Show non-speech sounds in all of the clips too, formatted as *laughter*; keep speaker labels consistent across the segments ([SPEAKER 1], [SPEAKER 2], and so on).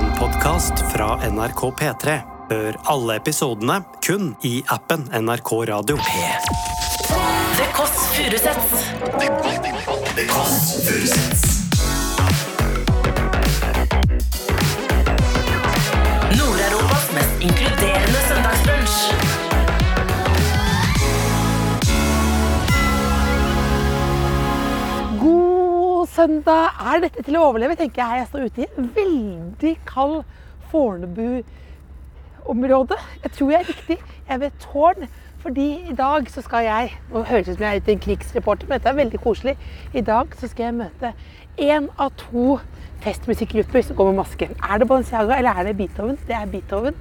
[SPEAKER 1] podkast fra NRK P3. Hør alle episodene kun i appen NRK Radio.
[SPEAKER 2] The Kåss Furuseths. Nord-Europas mest inkluderende søndagsbrunch.
[SPEAKER 3] God søndag. Er dette til å overleve, tenker jeg. Jeg står ute i en veldig kald Fornebu-område. Jeg tror jeg er riktig. Jeg er ved et tårn. Fordi i dag så skal jeg Nå høres det ut som jeg er ute en krigsreporter, men dette er veldig koselig. I dag så skal jeg møte én av to festmusikkgrupper som går med maske. Er det Balenciaga eller er det Beethoven? Det er Beethoven.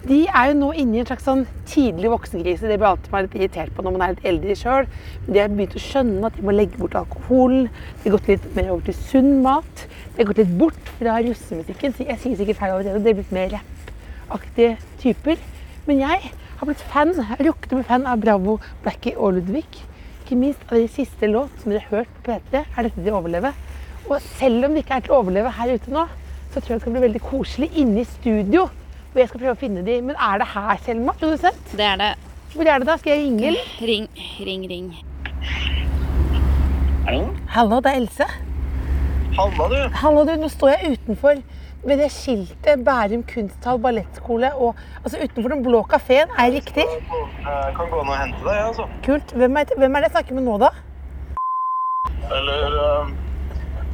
[SPEAKER 3] De er jo nå inne i en slags sånn tidlig voksenkrise. Det blir jeg alltid meg litt irritert på når man er litt eldre sjøl. Men de har begynt å skjønne at de må legge bort alkoholen. De har gått litt mer over til sunn mat. De har gått litt bort fra russemusikken. Så Jeg sier sikkert feil allerede, det er blitt mer rappaktige typer. Men jeg har blitt fan, rukkende med fan av Bravo, Blackie og Ludvig. Ikke minst av deres siste låt som dere har hørt på P3, er dette til å overleve. Og selv om det ikke er til å overleve her ute nå, så tror jeg det skal bli veldig koselig inne i studio. Og jeg skal prøve å finne de. Men er det her, Selma? Produsent?
[SPEAKER 4] Det er det.
[SPEAKER 3] Hvor er det da? Skal jeg ringe, eller?
[SPEAKER 4] Ring, ring, ring.
[SPEAKER 5] Hallo?
[SPEAKER 3] Hallo, det er Else.
[SPEAKER 5] Halla, du.
[SPEAKER 3] Hallo, du. Nå står jeg utenfor med det skiltet Bærum kunsthall ballettskole og Altså utenfor den blå kafeen. Er det riktig?
[SPEAKER 5] Jeg kan gå ned og hente deg, jeg, altså.
[SPEAKER 3] Kult. Hvem er, hvem er det jeg snakker med nå, da?
[SPEAKER 5] Eller eh,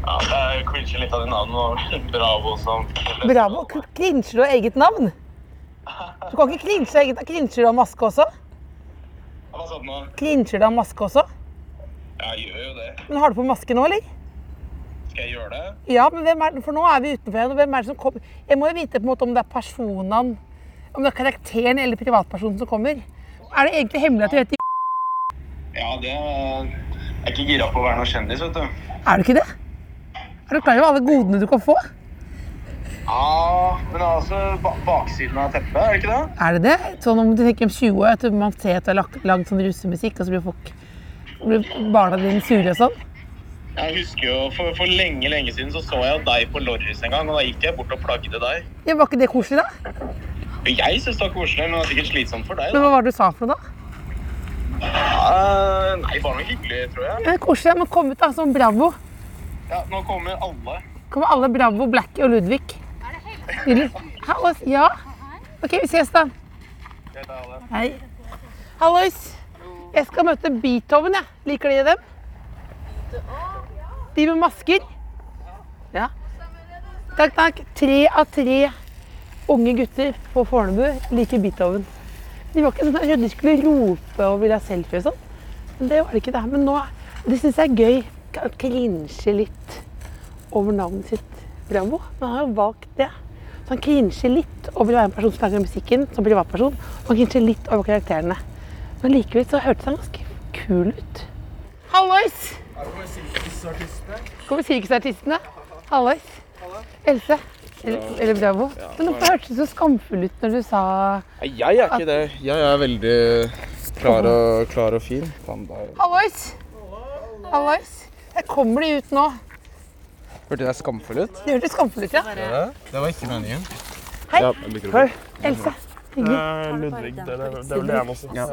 [SPEAKER 5] Ja, jeg crincher litt av de navnene. og *laughs* Bravo som
[SPEAKER 3] Bravo. K- Klinsjer du av eget navn? Du kan ikke klinsje av eget navn. Klinsjer du av maske også?
[SPEAKER 5] Hva sa du nå?
[SPEAKER 3] Klinsjer du av maske også?
[SPEAKER 5] Jeg gjør jo det.
[SPEAKER 3] Men har du på maske nå, eller?
[SPEAKER 5] Skal jeg gjøre det?
[SPEAKER 3] Ja, men hvem er det? For nå er vi utenfor igjen. og Hvem er det som kommer? Jeg må jo vite på en måte om det er personene, om det er karakteren eller privatpersonen som kommer. Er det egentlig hemmelig at du heter
[SPEAKER 5] Ja, det er Jeg er ikke gira på å være noe kjendis, vet du.
[SPEAKER 3] Er du ikke det? Er du klar over alle godene du kan få?
[SPEAKER 5] Ja, men det er altså ba baksiden av teppet, er det ikke det?
[SPEAKER 3] Er det det? Sånn om du tenker om 20 år, at man ser at du har lagt- lagd sånn russemusikk, og så blir folk blir barna dine sure og sånn?
[SPEAKER 5] Jeg husker jo for, for lenge, lenge siden så så jeg jo deg på Lorris en gang, og da gikk jeg bort og plagde deg.
[SPEAKER 3] Ja, var ikke det koselig, da?
[SPEAKER 5] Og Jeg syns det var koselig, men det er sikkert slitsomt for deg.
[SPEAKER 3] Men
[SPEAKER 5] da.
[SPEAKER 3] hva var det du sa for noe, da?
[SPEAKER 5] Ja, Eh, nei, bare noe hyggelig, tror jeg.
[SPEAKER 3] Ja, det er koselig, ja, men kom ut, da. Sånn Bravo.
[SPEAKER 5] Ja, nå kommer alle.
[SPEAKER 3] Kommer alle Bravo, Blackie og Ludvig. Er det Ja. OK, vi ses, da.
[SPEAKER 5] Det er alle.
[SPEAKER 3] Hei. Hallois. Jeg skal møte Beethoven, jeg. Liker dere dem? De med masker? Ja. Takk, takk. Tre av tre unge gutter på Fornebu liker Beethoven. De var ikke sånn at de skulle rope og ville ha selfie og sånn. Men det var det ikke det. Men nå Det syns jeg er gøy. Å klinsje litt over navnet sitt. Bravo. Men han har jo valgt det. Så han klinsjer litt over å være en person som lager musikken som privatperson. Og han klinsjer litt over karakterene. Men likevel så hørtes han ganske kul ut. Hallois! Kommer sirkusartistene? Hallois. Else. Eller, eller Bravo. Men hvorfor hørtes du så skamfull ut når du sa
[SPEAKER 6] Nei, Jeg er ikke det. Jeg er veldig klar og, klar og fin. Faen, da
[SPEAKER 3] Hallois! Hallois. Der kommer de ut nå.
[SPEAKER 6] hørte jeg skamfull ut.
[SPEAKER 3] De hørtes skamfulle ut, ja.
[SPEAKER 6] Det var ikke meningen.
[SPEAKER 3] Hei.
[SPEAKER 6] Ja, Hei.
[SPEAKER 3] Else. Hyggelig. Er det det du må si? Ja?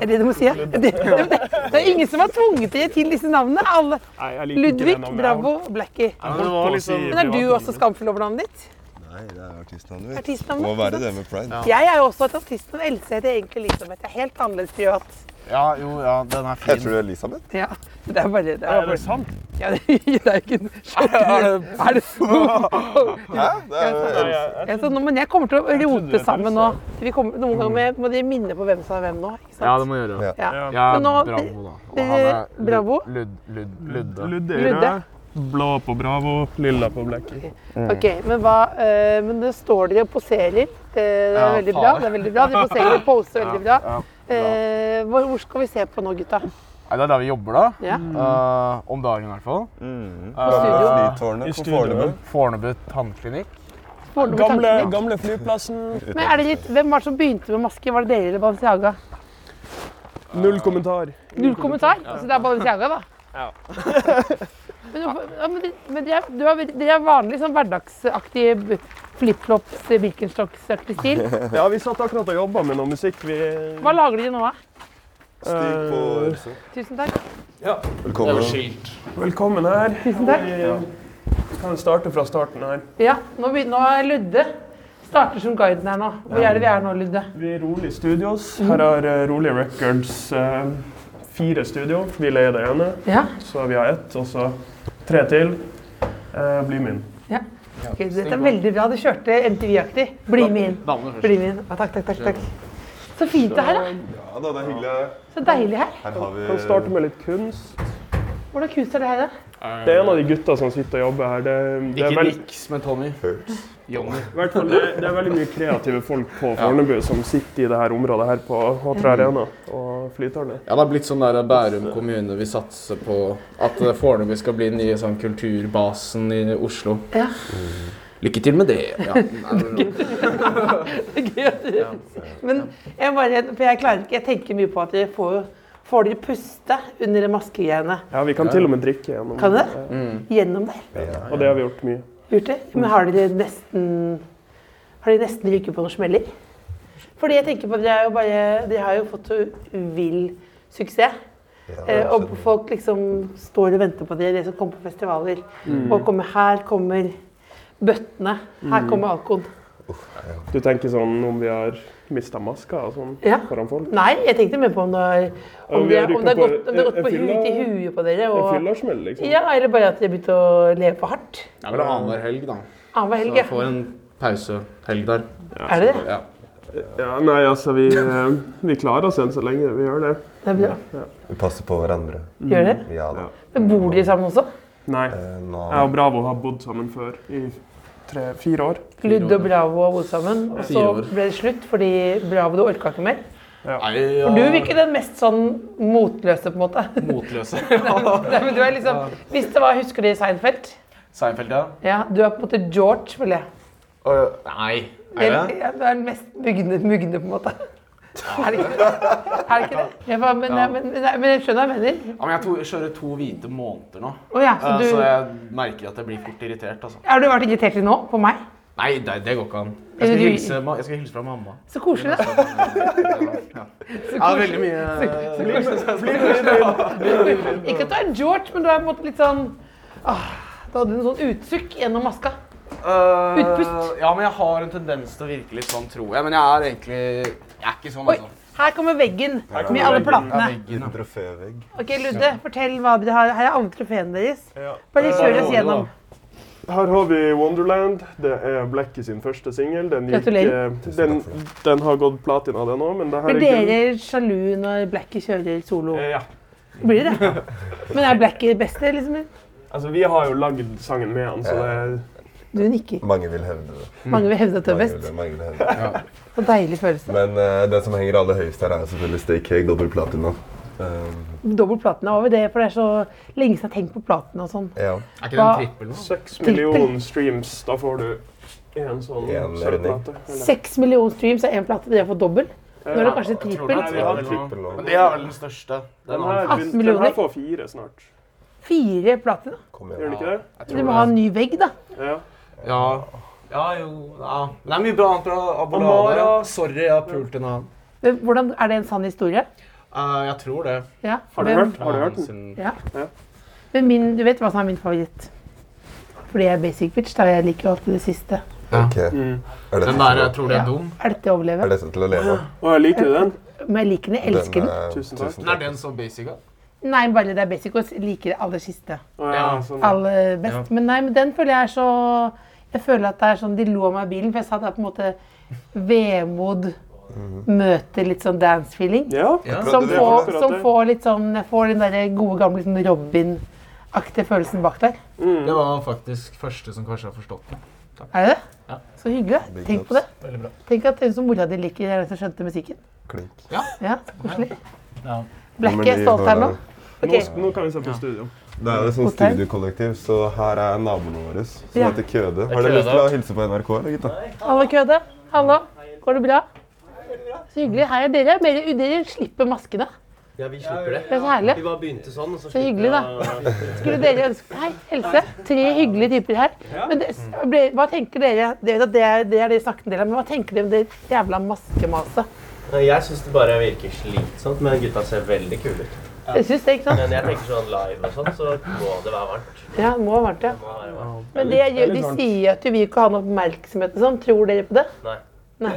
[SPEAKER 3] Det, det, det er ingen som har tvunget deg til disse navnene. Alle. Ludvig, Bravo, Blackie. Men er du også skamfull over navnet ditt?
[SPEAKER 7] Nei, det er artistnavnet mitt.
[SPEAKER 3] Artistnavnet?
[SPEAKER 7] Det må være det med pride.
[SPEAKER 3] Jeg er jo også et artist, men Else heter egentlig Elisabeth. Jeg er helt annerledes privat.
[SPEAKER 6] Ja, jo, ja, den er
[SPEAKER 7] Jeg tror det er Elisabeth.
[SPEAKER 3] *laughs* Ja, det er bare det. Er bare... det sant? Ja, det, det er jo ikke noe sjokk. Er det *laughs*
[SPEAKER 7] Hæ? Det er jo Elisabeth.
[SPEAKER 3] Jeg sa, nå, men jeg kommer til å rote sammen nå. Vi kommer, noen ganger må jeg- må dere minne på hvem som er hvem nå. ikke sant?
[SPEAKER 8] Ja, det må jeg gjøre.
[SPEAKER 3] Ja.
[SPEAKER 8] Ja,
[SPEAKER 3] Men nå-
[SPEAKER 8] Bravo, da. Og
[SPEAKER 3] det-
[SPEAKER 8] han er Lud-
[SPEAKER 3] Bravo?
[SPEAKER 8] Lud, lud, Ludde.
[SPEAKER 3] Ludde.
[SPEAKER 9] Blå på Bravo, lilla på Blackie.
[SPEAKER 3] Ok, men, hva, eh, men det står dere og poserer. Det, det er
[SPEAKER 6] Ja,
[SPEAKER 3] veldig bra.
[SPEAKER 6] faen.
[SPEAKER 3] det er veldig bra. Dere poserer og
[SPEAKER 8] *laughs*
[SPEAKER 3] poser veldig bra.
[SPEAKER 6] ja,
[SPEAKER 3] Eh, hvor, hvor skal vi se på nå, gutta?
[SPEAKER 6] Nei, det er der vi jobber, da.
[SPEAKER 3] Ja.
[SPEAKER 6] Eh, om dagen, i hvert fall.
[SPEAKER 7] Mm.
[SPEAKER 6] Eh,
[SPEAKER 7] Flytårnet på
[SPEAKER 9] studio.
[SPEAKER 7] Fornebu.
[SPEAKER 6] Fornebu tannklinikk.
[SPEAKER 3] Foreløpig
[SPEAKER 9] Gamle,
[SPEAKER 3] tanken.
[SPEAKER 9] gamle flyplassen.
[SPEAKER 3] Men er det litt, Hvem var det som begynte med maske? Var det dere eller Balenciaga?
[SPEAKER 9] Null kommentar.
[SPEAKER 3] Null kommentar. Så det er Balenciaga, da. *laughs* Men, ja, men, de- men de er, du er, veldig- dere er vanlig sånn hverdagsaktig b- flipflops, eh, Birkenstocks-aktig stil.
[SPEAKER 9] *laughs* Ja, vi satt akkurat og jobba med noe musikk. Vi
[SPEAKER 3] Hva lager de nå, da?
[SPEAKER 7] Stig på Ørsen.
[SPEAKER 3] Tusen takk.
[SPEAKER 7] Velkommen.
[SPEAKER 9] Velkommen her.
[SPEAKER 3] Tusen takk.
[SPEAKER 9] Vi kan starte fra starten her.
[SPEAKER 3] Ja, nå, begyn- nå er Ludde starter som guiden her nå. Hvor er det vi er nå, Ludde?
[SPEAKER 9] Vi er i Rolig Studios. Her har eh, Rolig Records eh, fire studio. Vi leier det ene,
[SPEAKER 3] Ja,
[SPEAKER 9] så vi har ett, og så tre til. Eh, blir min.
[SPEAKER 3] ok, Dette er veldig bra. Du kjørte MTV-aktig. Bli med inn. Bli med inn. Ja, takk, takk, takk, takk. Så fint det her, da.
[SPEAKER 7] Ja da, det er hyggelig her.
[SPEAKER 3] Så deilig her.
[SPEAKER 7] Her har vi
[SPEAKER 9] Vi kan starte med litt kunst.
[SPEAKER 3] Hvordan kunst er det her, da?
[SPEAKER 9] Det er en av de gutta som sitter og jobber her. Det, det er
[SPEAKER 6] Ikke
[SPEAKER 9] vel-
[SPEAKER 6] Nix, men Tommy.
[SPEAKER 7] Hurts.
[SPEAKER 6] Johnny.
[SPEAKER 9] I hvert fall, det, det er veldig mye kreative folk på Fornebu som sitter i det her området her på H3 Arena og Flytårnet.
[SPEAKER 6] Ja, det har blitt sånn der Bærum kommune vi satser på at eh, Fornebu skal bli den nye sånn kulturbasen i Oslo.
[SPEAKER 3] Ja.
[SPEAKER 6] Lykke til med det. Ja.
[SPEAKER 3] Gøy at du- Men jeg bare For jeg klarer ikke Jeg tenker mye på at jeg får jo Får dere puste under de maskegreiene?
[SPEAKER 9] Ja, vi kan til og med drikke gjennom
[SPEAKER 3] Kan dere det? Gjennom der?
[SPEAKER 9] Og det har vi gjort mye.
[SPEAKER 3] Gjort det? Men har dere nesten Har dere nesten ryket på noen smeller? Fordi jeg tenker på at dere er jo bare Dere har jo fått så vill suksess. Eh, og folk liksom står og venter på dere, dere som kommer på festivaler.
[SPEAKER 9] Mm.
[SPEAKER 3] Og kommer, her kommer bøttene. Her kommer alkoen.
[SPEAKER 9] Du tenker sånn om vi har mista maska og sånn
[SPEAKER 3] Ja.
[SPEAKER 9] foran folk?
[SPEAKER 3] Nei, jeg tenkte mer på om det har om
[SPEAKER 9] vi
[SPEAKER 3] det,
[SPEAKER 9] har ryket
[SPEAKER 3] om det har
[SPEAKER 9] på-
[SPEAKER 3] gått, om det har gått
[SPEAKER 9] en- en
[SPEAKER 3] på
[SPEAKER 9] fylla-
[SPEAKER 3] huet til huet på dere.
[SPEAKER 9] En
[SPEAKER 3] Og,
[SPEAKER 9] fyllersmell, liksom?
[SPEAKER 3] ja, eller bare at de har begynt å leve for hardt.
[SPEAKER 6] Ja, men det er annenhver helg, da.
[SPEAKER 3] Annenhver
[SPEAKER 6] Så
[SPEAKER 3] helg,
[SPEAKER 6] jeg får en pausehelg der.
[SPEAKER 3] ja. Er det det?
[SPEAKER 6] Ja.
[SPEAKER 9] Ja, nei, altså, vi, eh, vi klarer oss enn så lenge. Vi gjør det.
[SPEAKER 3] det er bra.
[SPEAKER 7] Vi passer på hverandre.
[SPEAKER 3] Gjør det?
[SPEAKER 6] Mm.
[SPEAKER 7] Ja da.
[SPEAKER 3] Men bor dere sammen også?
[SPEAKER 9] Nei.
[SPEAKER 7] Eh, Nå
[SPEAKER 9] Jeg og Bravo har bodd sammen før i tre, fire år.
[SPEAKER 3] Ludde og Bravo har bodd sammen, og så
[SPEAKER 6] Fire år.
[SPEAKER 3] ble det slutt fordi Bravo du orka ikke mer.
[SPEAKER 6] Nei,
[SPEAKER 3] Du virker den mest sånn motløse, på en måte.
[SPEAKER 6] *laughs* motløse.
[SPEAKER 3] *laughs* Nei, men du er liksom, hvis det var, Husker du Seinfeld?
[SPEAKER 6] Seinfeld, ja.
[SPEAKER 3] Ja, Du er på en måte George, føler jeg.
[SPEAKER 6] Og, nei, er det?
[SPEAKER 3] Ja, du er den mest mugne, mugne på en måte. Er det ikke det? Er det, ikke det? Ja, men, men, men, nei, men jeg skjønner hva jeg mener.
[SPEAKER 6] Ja, men jeg to, kjører to hvite måneder nå.
[SPEAKER 3] Å ja, så
[SPEAKER 6] Eh, Så
[SPEAKER 3] du,
[SPEAKER 6] jeg merker at jeg blir fort irritert, altså.
[SPEAKER 3] har du vært irritert til nå? På meg?
[SPEAKER 6] Nei, det, det går ikke an.
[SPEAKER 3] Er
[SPEAKER 6] Jeg skal,
[SPEAKER 3] du-
[SPEAKER 6] hilse, ma- jeg skal hilse fra mamma.
[SPEAKER 3] Så koselig. da. *laughs*
[SPEAKER 6] Ja, det er veldig mye
[SPEAKER 3] Ikke at du er George, men du er på en måte litt sånn ah, Du hadde en sånn utsukk gjennom maska.
[SPEAKER 6] Eh,
[SPEAKER 3] Utpust.
[SPEAKER 6] Ja, men jeg har en tendens til å virke litt sånn, tror jeg. Men jeg er egentlig Jeg er ikke sånn,
[SPEAKER 3] Oi,
[SPEAKER 6] altså.
[SPEAKER 3] her kommer veggen med alle platene.
[SPEAKER 7] En trofévegg.
[SPEAKER 3] Ok, Ludde, fortell hva dere har. Her er alle trofeene deres. Bare kjør oss gjennom.
[SPEAKER 9] Her har vi Wonderland. Det er Blackie sin første singel. Den, gikk,
[SPEAKER 3] Gratulerer.
[SPEAKER 9] eh, den, den har gått platina, den òg, men det her
[SPEAKER 3] Blir
[SPEAKER 9] er
[SPEAKER 3] dere sjalu når Blackie kjører solo?
[SPEAKER 9] Eh, Ja.
[SPEAKER 3] Blir det? *laughs* Men er Blackie best, eller liksom?
[SPEAKER 9] Altså, vi har jo lagd sangen med han, så det er
[SPEAKER 3] Du nikker.
[SPEAKER 7] Mange vil hevde det.
[SPEAKER 3] Mange vil hevde at du er
[SPEAKER 7] Mange vil,
[SPEAKER 3] best.
[SPEAKER 7] mange vil hevde det.
[SPEAKER 3] Så deilig følelse.
[SPEAKER 7] Men eh, den som henger aller høyest her, er selvfølgelig Stay Cake, dobbel platina. Um,
[SPEAKER 3] Dobbel platina over det, for det er så lenge siden jeg har tenkt på platina og sånn.
[SPEAKER 7] ja.
[SPEAKER 6] Er ikke det
[SPEAKER 3] Hva?
[SPEAKER 6] en trippel nå?
[SPEAKER 9] seks millioner streams. Da får du én sånn
[SPEAKER 7] En
[SPEAKER 9] sølvplate. eller-
[SPEAKER 3] Seks millioner streams er én plate, dere får dobbel. Nå er det kanskje trippel.
[SPEAKER 9] vi har en
[SPEAKER 7] trippel nå.
[SPEAKER 6] Men det er vel den største. Den
[SPEAKER 9] Den
[SPEAKER 6] har
[SPEAKER 9] her,
[SPEAKER 3] 18
[SPEAKER 9] vil- den
[SPEAKER 3] millioner.
[SPEAKER 9] her får fire snart.
[SPEAKER 3] Fire platina.
[SPEAKER 7] Kom
[SPEAKER 9] Gjør den
[SPEAKER 7] igjen.
[SPEAKER 9] ikke det?
[SPEAKER 6] jeg
[SPEAKER 3] Du
[SPEAKER 6] tror
[SPEAKER 3] må ha en
[SPEAKER 6] det.
[SPEAKER 3] ny vegg, da.
[SPEAKER 9] Ja.
[SPEAKER 6] Ja. ja, jo ja. Men det er mye bra annet fra Abolada.
[SPEAKER 9] Amara.
[SPEAKER 6] Sorry, jeg har pult en annen.
[SPEAKER 3] Men Hvordan, er det en sann historie?
[SPEAKER 6] Eh, jeg tror det.
[SPEAKER 3] Ja.
[SPEAKER 9] Har du
[SPEAKER 3] men-
[SPEAKER 9] hørt? Har du hørt den?
[SPEAKER 6] Sin-
[SPEAKER 3] Ja.
[SPEAKER 9] Ja.
[SPEAKER 3] Men min, du vet hva som er min favoritt? Fordi jeg er basic bitch, da. Jeg liker jo alltid det siste.
[SPEAKER 7] Ok. Er dette
[SPEAKER 6] Den der jeg
[SPEAKER 7] til,
[SPEAKER 6] tror det
[SPEAKER 3] Ja.
[SPEAKER 6] er dum.
[SPEAKER 3] Er dette å
[SPEAKER 7] å-
[SPEAKER 3] overleve?
[SPEAKER 7] er dette til å leve? eh,
[SPEAKER 9] Å, jeg liker du den?
[SPEAKER 3] Men jeg liker den. Jeg elsker den.
[SPEAKER 7] er-
[SPEAKER 9] Tusen takk.
[SPEAKER 6] Men er den så basic, da?
[SPEAKER 3] Nei, bare det er basic og jeg liker det aller siste.
[SPEAKER 9] Å,
[SPEAKER 6] Ja.
[SPEAKER 9] ja, sånn.
[SPEAKER 3] Aller best. Men nei, men den føler jeg er så Jeg føler at det er sånn De lo av meg i bilen, for jeg sa det er på en måte vemod møter litt sånn dance-feeling.
[SPEAKER 9] Ja.
[SPEAKER 3] Som,
[SPEAKER 7] det er
[SPEAKER 3] får-
[SPEAKER 9] akkurat
[SPEAKER 3] som
[SPEAKER 9] det.
[SPEAKER 3] får litt sånn Jeg får den der gode gamle sånn Robin-aktige følelsen bak der.
[SPEAKER 6] Det var faktisk første som kanskje har forstått den.
[SPEAKER 3] Er det det? Så hyggelig.
[SPEAKER 7] Big
[SPEAKER 3] Tenk på det.
[SPEAKER 7] ups.
[SPEAKER 3] Tenk at hun som mora di liker, er den som skjønte musikken.
[SPEAKER 7] Klink.
[SPEAKER 3] Ja, så koselig.
[SPEAKER 6] Ja.
[SPEAKER 3] Blekket
[SPEAKER 7] Nummer
[SPEAKER 3] er
[SPEAKER 7] ni
[SPEAKER 3] stolt her nå.
[SPEAKER 7] var
[SPEAKER 9] Nå,
[SPEAKER 3] Ok.
[SPEAKER 9] nå kan vi se på studio.
[SPEAKER 7] Det er jo et sånt
[SPEAKER 3] Hotell.
[SPEAKER 7] studiokollektiv, så her er naboene våre som
[SPEAKER 3] Ja.
[SPEAKER 7] heter Køde. Har dere
[SPEAKER 6] Køde.
[SPEAKER 7] lyst til å hilse på NRK, eller gutta?
[SPEAKER 3] Hallo, Køde. Hallo. Går det bra? Så hyggelig. Her er dere. Mer, dere slipper maskene.
[SPEAKER 4] Ja, vi slipper det.
[SPEAKER 3] Det er så herlig.
[SPEAKER 4] Vi bare begynte sånn, og så
[SPEAKER 3] Så hyggelig,
[SPEAKER 4] da.
[SPEAKER 3] Skulle dere ønske Hei, Else. Tre hyggelige typer her. Men det, ble- hva tenker dere Det, det, er, det er det vi snakket en del om, men hva tenker dere om det jævla maskemaset?
[SPEAKER 4] Jeg syns det bare virker slitsomt, men gutta ser veldig kule ut.
[SPEAKER 3] Jeg syns det, ikke sant?
[SPEAKER 4] Men jeg tenker sånn live og sånn, så må det være varmt.
[SPEAKER 3] Ja, det må ha vært det.
[SPEAKER 4] Det må være varmt.
[SPEAKER 3] Men det, gjør- de sier at vi ikke har noe oppmerksomhet og sånn. Tror dere på det?
[SPEAKER 4] Nei.
[SPEAKER 3] *laughs* Så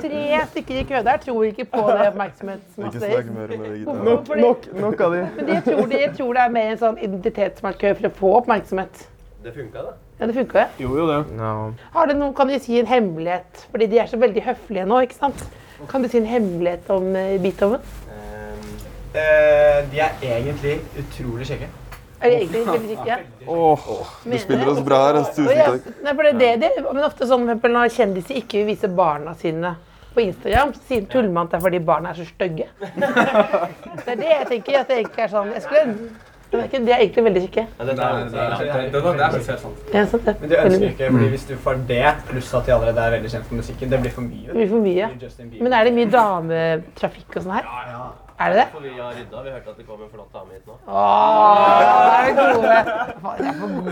[SPEAKER 3] tre stykker i kø der tror ikke på det
[SPEAKER 7] Ikke
[SPEAKER 3] oppmerksomhetsmaset
[SPEAKER 7] snakk
[SPEAKER 3] deres.
[SPEAKER 7] mer om det. Gitte.
[SPEAKER 9] Nok, nok, nok av de.
[SPEAKER 3] Men de tror, de tror det er mer en sånn identitetsmarkør for å få oppmerksomhet.
[SPEAKER 4] Det funka, da.
[SPEAKER 3] Ja, det funka jo.
[SPEAKER 9] Jo, jo det.
[SPEAKER 3] Har du noen, kan du si en hemmelighet? Fordi de er så veldig høflige nå, ikke sant? Kan du si en hemmelighet om eh, Beethoven?
[SPEAKER 4] de er egentlig utrolig kjekke.
[SPEAKER 3] Er de egentlig veldig syke?
[SPEAKER 9] Åh,
[SPEAKER 3] Du
[SPEAKER 7] Spiller oss bra her. ass. Tusen
[SPEAKER 3] ja,
[SPEAKER 7] takk.
[SPEAKER 3] nei, for det er det, de- men ofte sånn for eksempel når kjendiser ikke vil vise barna sine på Instagram, så sier tuller man at det er fordi barna er så stygge. Det er det jeg tenker. at det egentlig er sånn, jeg skulle, det er ikke- de er egentlig veldig syke.
[SPEAKER 4] Ja, det, er, det, er,
[SPEAKER 3] Ja, sant, det.
[SPEAKER 8] Men det ønsker jeg ikke, fordi hvis du får det, pluss at de allerede er veldig kjent med musikken, det blir for mye.
[SPEAKER 3] Det blir for mye.
[SPEAKER 8] Justin Bieber.
[SPEAKER 3] Men er det mye dametrafikk og sånn her? Er det det?
[SPEAKER 4] vi har rydda. Vi hørte at det kom en flott dame hit nå.
[SPEAKER 3] Åh, det er gode.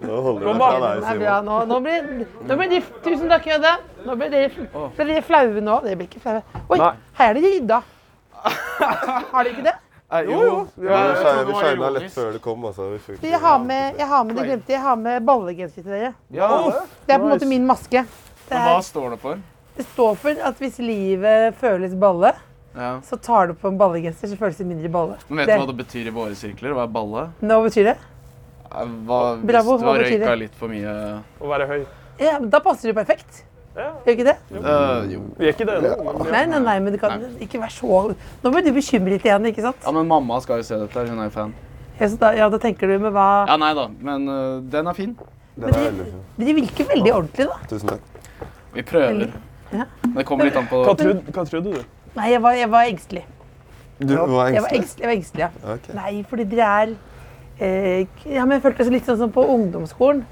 [SPEAKER 7] Nå holder
[SPEAKER 3] Nå,
[SPEAKER 7] det
[SPEAKER 3] må-
[SPEAKER 7] fra deg,
[SPEAKER 3] Nei, bra.
[SPEAKER 7] Simon.
[SPEAKER 3] nå, nå, blir, nå blir de Tusen takk, Jøde. Nå blir dere, blir dere flaue nå. Dere blir ikke flaue. Oi,
[SPEAKER 9] Nei.
[SPEAKER 3] her er det
[SPEAKER 9] *laughs*
[SPEAKER 3] rydda. Har dere ikke det?
[SPEAKER 9] eh, jo, jo. Ja,
[SPEAKER 7] Vi
[SPEAKER 9] jeg
[SPEAKER 7] shina-
[SPEAKER 9] trodde det
[SPEAKER 7] Vi
[SPEAKER 9] var
[SPEAKER 7] shina
[SPEAKER 9] ironisk.
[SPEAKER 7] lett før det kom, altså. Vi fikk-
[SPEAKER 3] Jeg har med, jeg har med, det glemte, jeg har med ballegenser til dere.
[SPEAKER 9] Ja,
[SPEAKER 3] Det er på en måte
[SPEAKER 9] Nice.
[SPEAKER 3] min maske. Det,
[SPEAKER 9] hva
[SPEAKER 3] er,
[SPEAKER 9] står det for?
[SPEAKER 3] det står for at hvis livet føles balle,
[SPEAKER 9] Ja.
[SPEAKER 3] så tar du på en ballegenser, så føles det mindre balle.
[SPEAKER 9] Men vet
[SPEAKER 3] Det-
[SPEAKER 9] du hva det betyr i våre sirkler? Hva er balle?
[SPEAKER 3] Nå betyr det?
[SPEAKER 9] Eh, Hva, hvis
[SPEAKER 3] Bravo,
[SPEAKER 9] du
[SPEAKER 3] hva
[SPEAKER 9] har
[SPEAKER 3] betyr det?
[SPEAKER 9] røyka litt for mye
[SPEAKER 8] Å være høy.
[SPEAKER 3] Ja, men da passer det perfekt. Gjør ikke det?
[SPEAKER 9] Eh, Jo.
[SPEAKER 8] Vi er ikke det ennå. men-
[SPEAKER 3] Nei, nei, nei, men det kan ikke være så Nå blir du bekymret igjen, ikke sant?
[SPEAKER 9] Ja, men mamma skal jo se dette. her, Hun er jo fan.
[SPEAKER 3] Ja, så da, ja, da tenker du, men hva
[SPEAKER 9] Ja, nei da. Men eh, den er fin.
[SPEAKER 7] Den er veldig fin.
[SPEAKER 3] De virker veldig ordentlige, da.
[SPEAKER 7] Tusen takk.
[SPEAKER 9] Vi prøver.
[SPEAKER 3] Ja.
[SPEAKER 9] Det kommer litt an på
[SPEAKER 8] Hva trodde, hva trodde du?
[SPEAKER 3] Nei, jeg var, jeg var engstelig.
[SPEAKER 7] Du var
[SPEAKER 3] Jeg var
[SPEAKER 7] engstelig?
[SPEAKER 3] engstelig, jeg var engstelig ja.
[SPEAKER 7] Ok.
[SPEAKER 3] Nei, fordi dere er eh, k- ja, men jeg følte det litt sånn som på ungdomsskolen.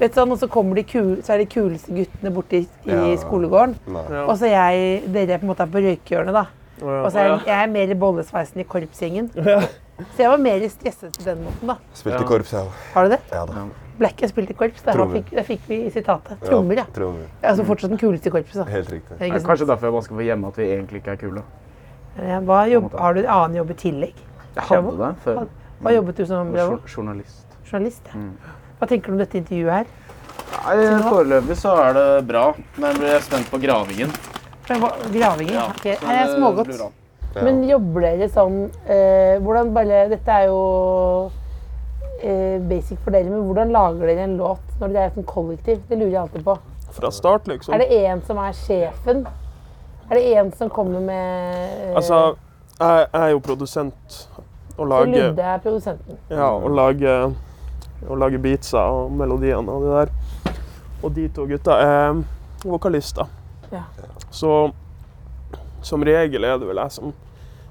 [SPEAKER 3] Vet du sånn, Og så kommer de kule, så er de kuleste guttene borti i
[SPEAKER 7] Ja.
[SPEAKER 3] skolegården.
[SPEAKER 7] Nei.
[SPEAKER 3] Og så er jeg, dere er på en måte på røykehjørnet, da. Og så er jeg, jeg er mer i bollesveisen i korpsgjengen. Så jeg var mer stresset på den måten, da.
[SPEAKER 7] Spilte korps, jeg òg.
[SPEAKER 3] Har du det?
[SPEAKER 7] Ja da.
[SPEAKER 3] Blackie spilte i korps. Der,
[SPEAKER 7] Trommer.
[SPEAKER 3] fikk, der fikk vi sitatet. Trommer, ja.
[SPEAKER 7] Trommer.
[SPEAKER 3] Altså fortsatt den kuleste i korpset. da.
[SPEAKER 7] Helt riktig.
[SPEAKER 3] Det er ikke sant.
[SPEAKER 6] Kanskje derfor jeg bare skal få hjemme at vi egentlig ikke er kule.
[SPEAKER 3] Ja, Hva jobb, har du en annen jobb i tillegg?
[SPEAKER 6] Jeg hadde det før.
[SPEAKER 3] Hadde- Hva jobbet du som
[SPEAKER 6] Jeg var
[SPEAKER 3] Bravo?
[SPEAKER 6] jour- Journalist.
[SPEAKER 3] Mm. journalist? Mm. ja. Hva tenker du om dette intervjuet her?
[SPEAKER 6] Nei, Foreløpig så er det bra, men jeg er spent på gravingen.
[SPEAKER 3] Men hva- Gravinger?
[SPEAKER 6] Ja,
[SPEAKER 3] ok.
[SPEAKER 6] så
[SPEAKER 3] Nei, jeg er
[SPEAKER 6] det
[SPEAKER 3] smågodt.
[SPEAKER 6] blir bra.
[SPEAKER 7] Ja.
[SPEAKER 3] Men jobber dere sånn eh, hvordan bare, Dette er jo eh, basic for dere, men hvordan lager dere en låt når dere er som kollektiv? Det lurer jeg alltid på.
[SPEAKER 9] Fra start, liksom.
[SPEAKER 3] Er det én som er sjefen? Er det én som kommer med eh,
[SPEAKER 9] Altså, jeg, jeg er jo produsent
[SPEAKER 3] så
[SPEAKER 9] og lager,
[SPEAKER 3] Ludde er produsenten.
[SPEAKER 9] ja, og lager, og lager beatsa og melodiene og det der. Og de to gutta er vokalister.
[SPEAKER 3] Ja.
[SPEAKER 9] Så som regel er det vel jeg som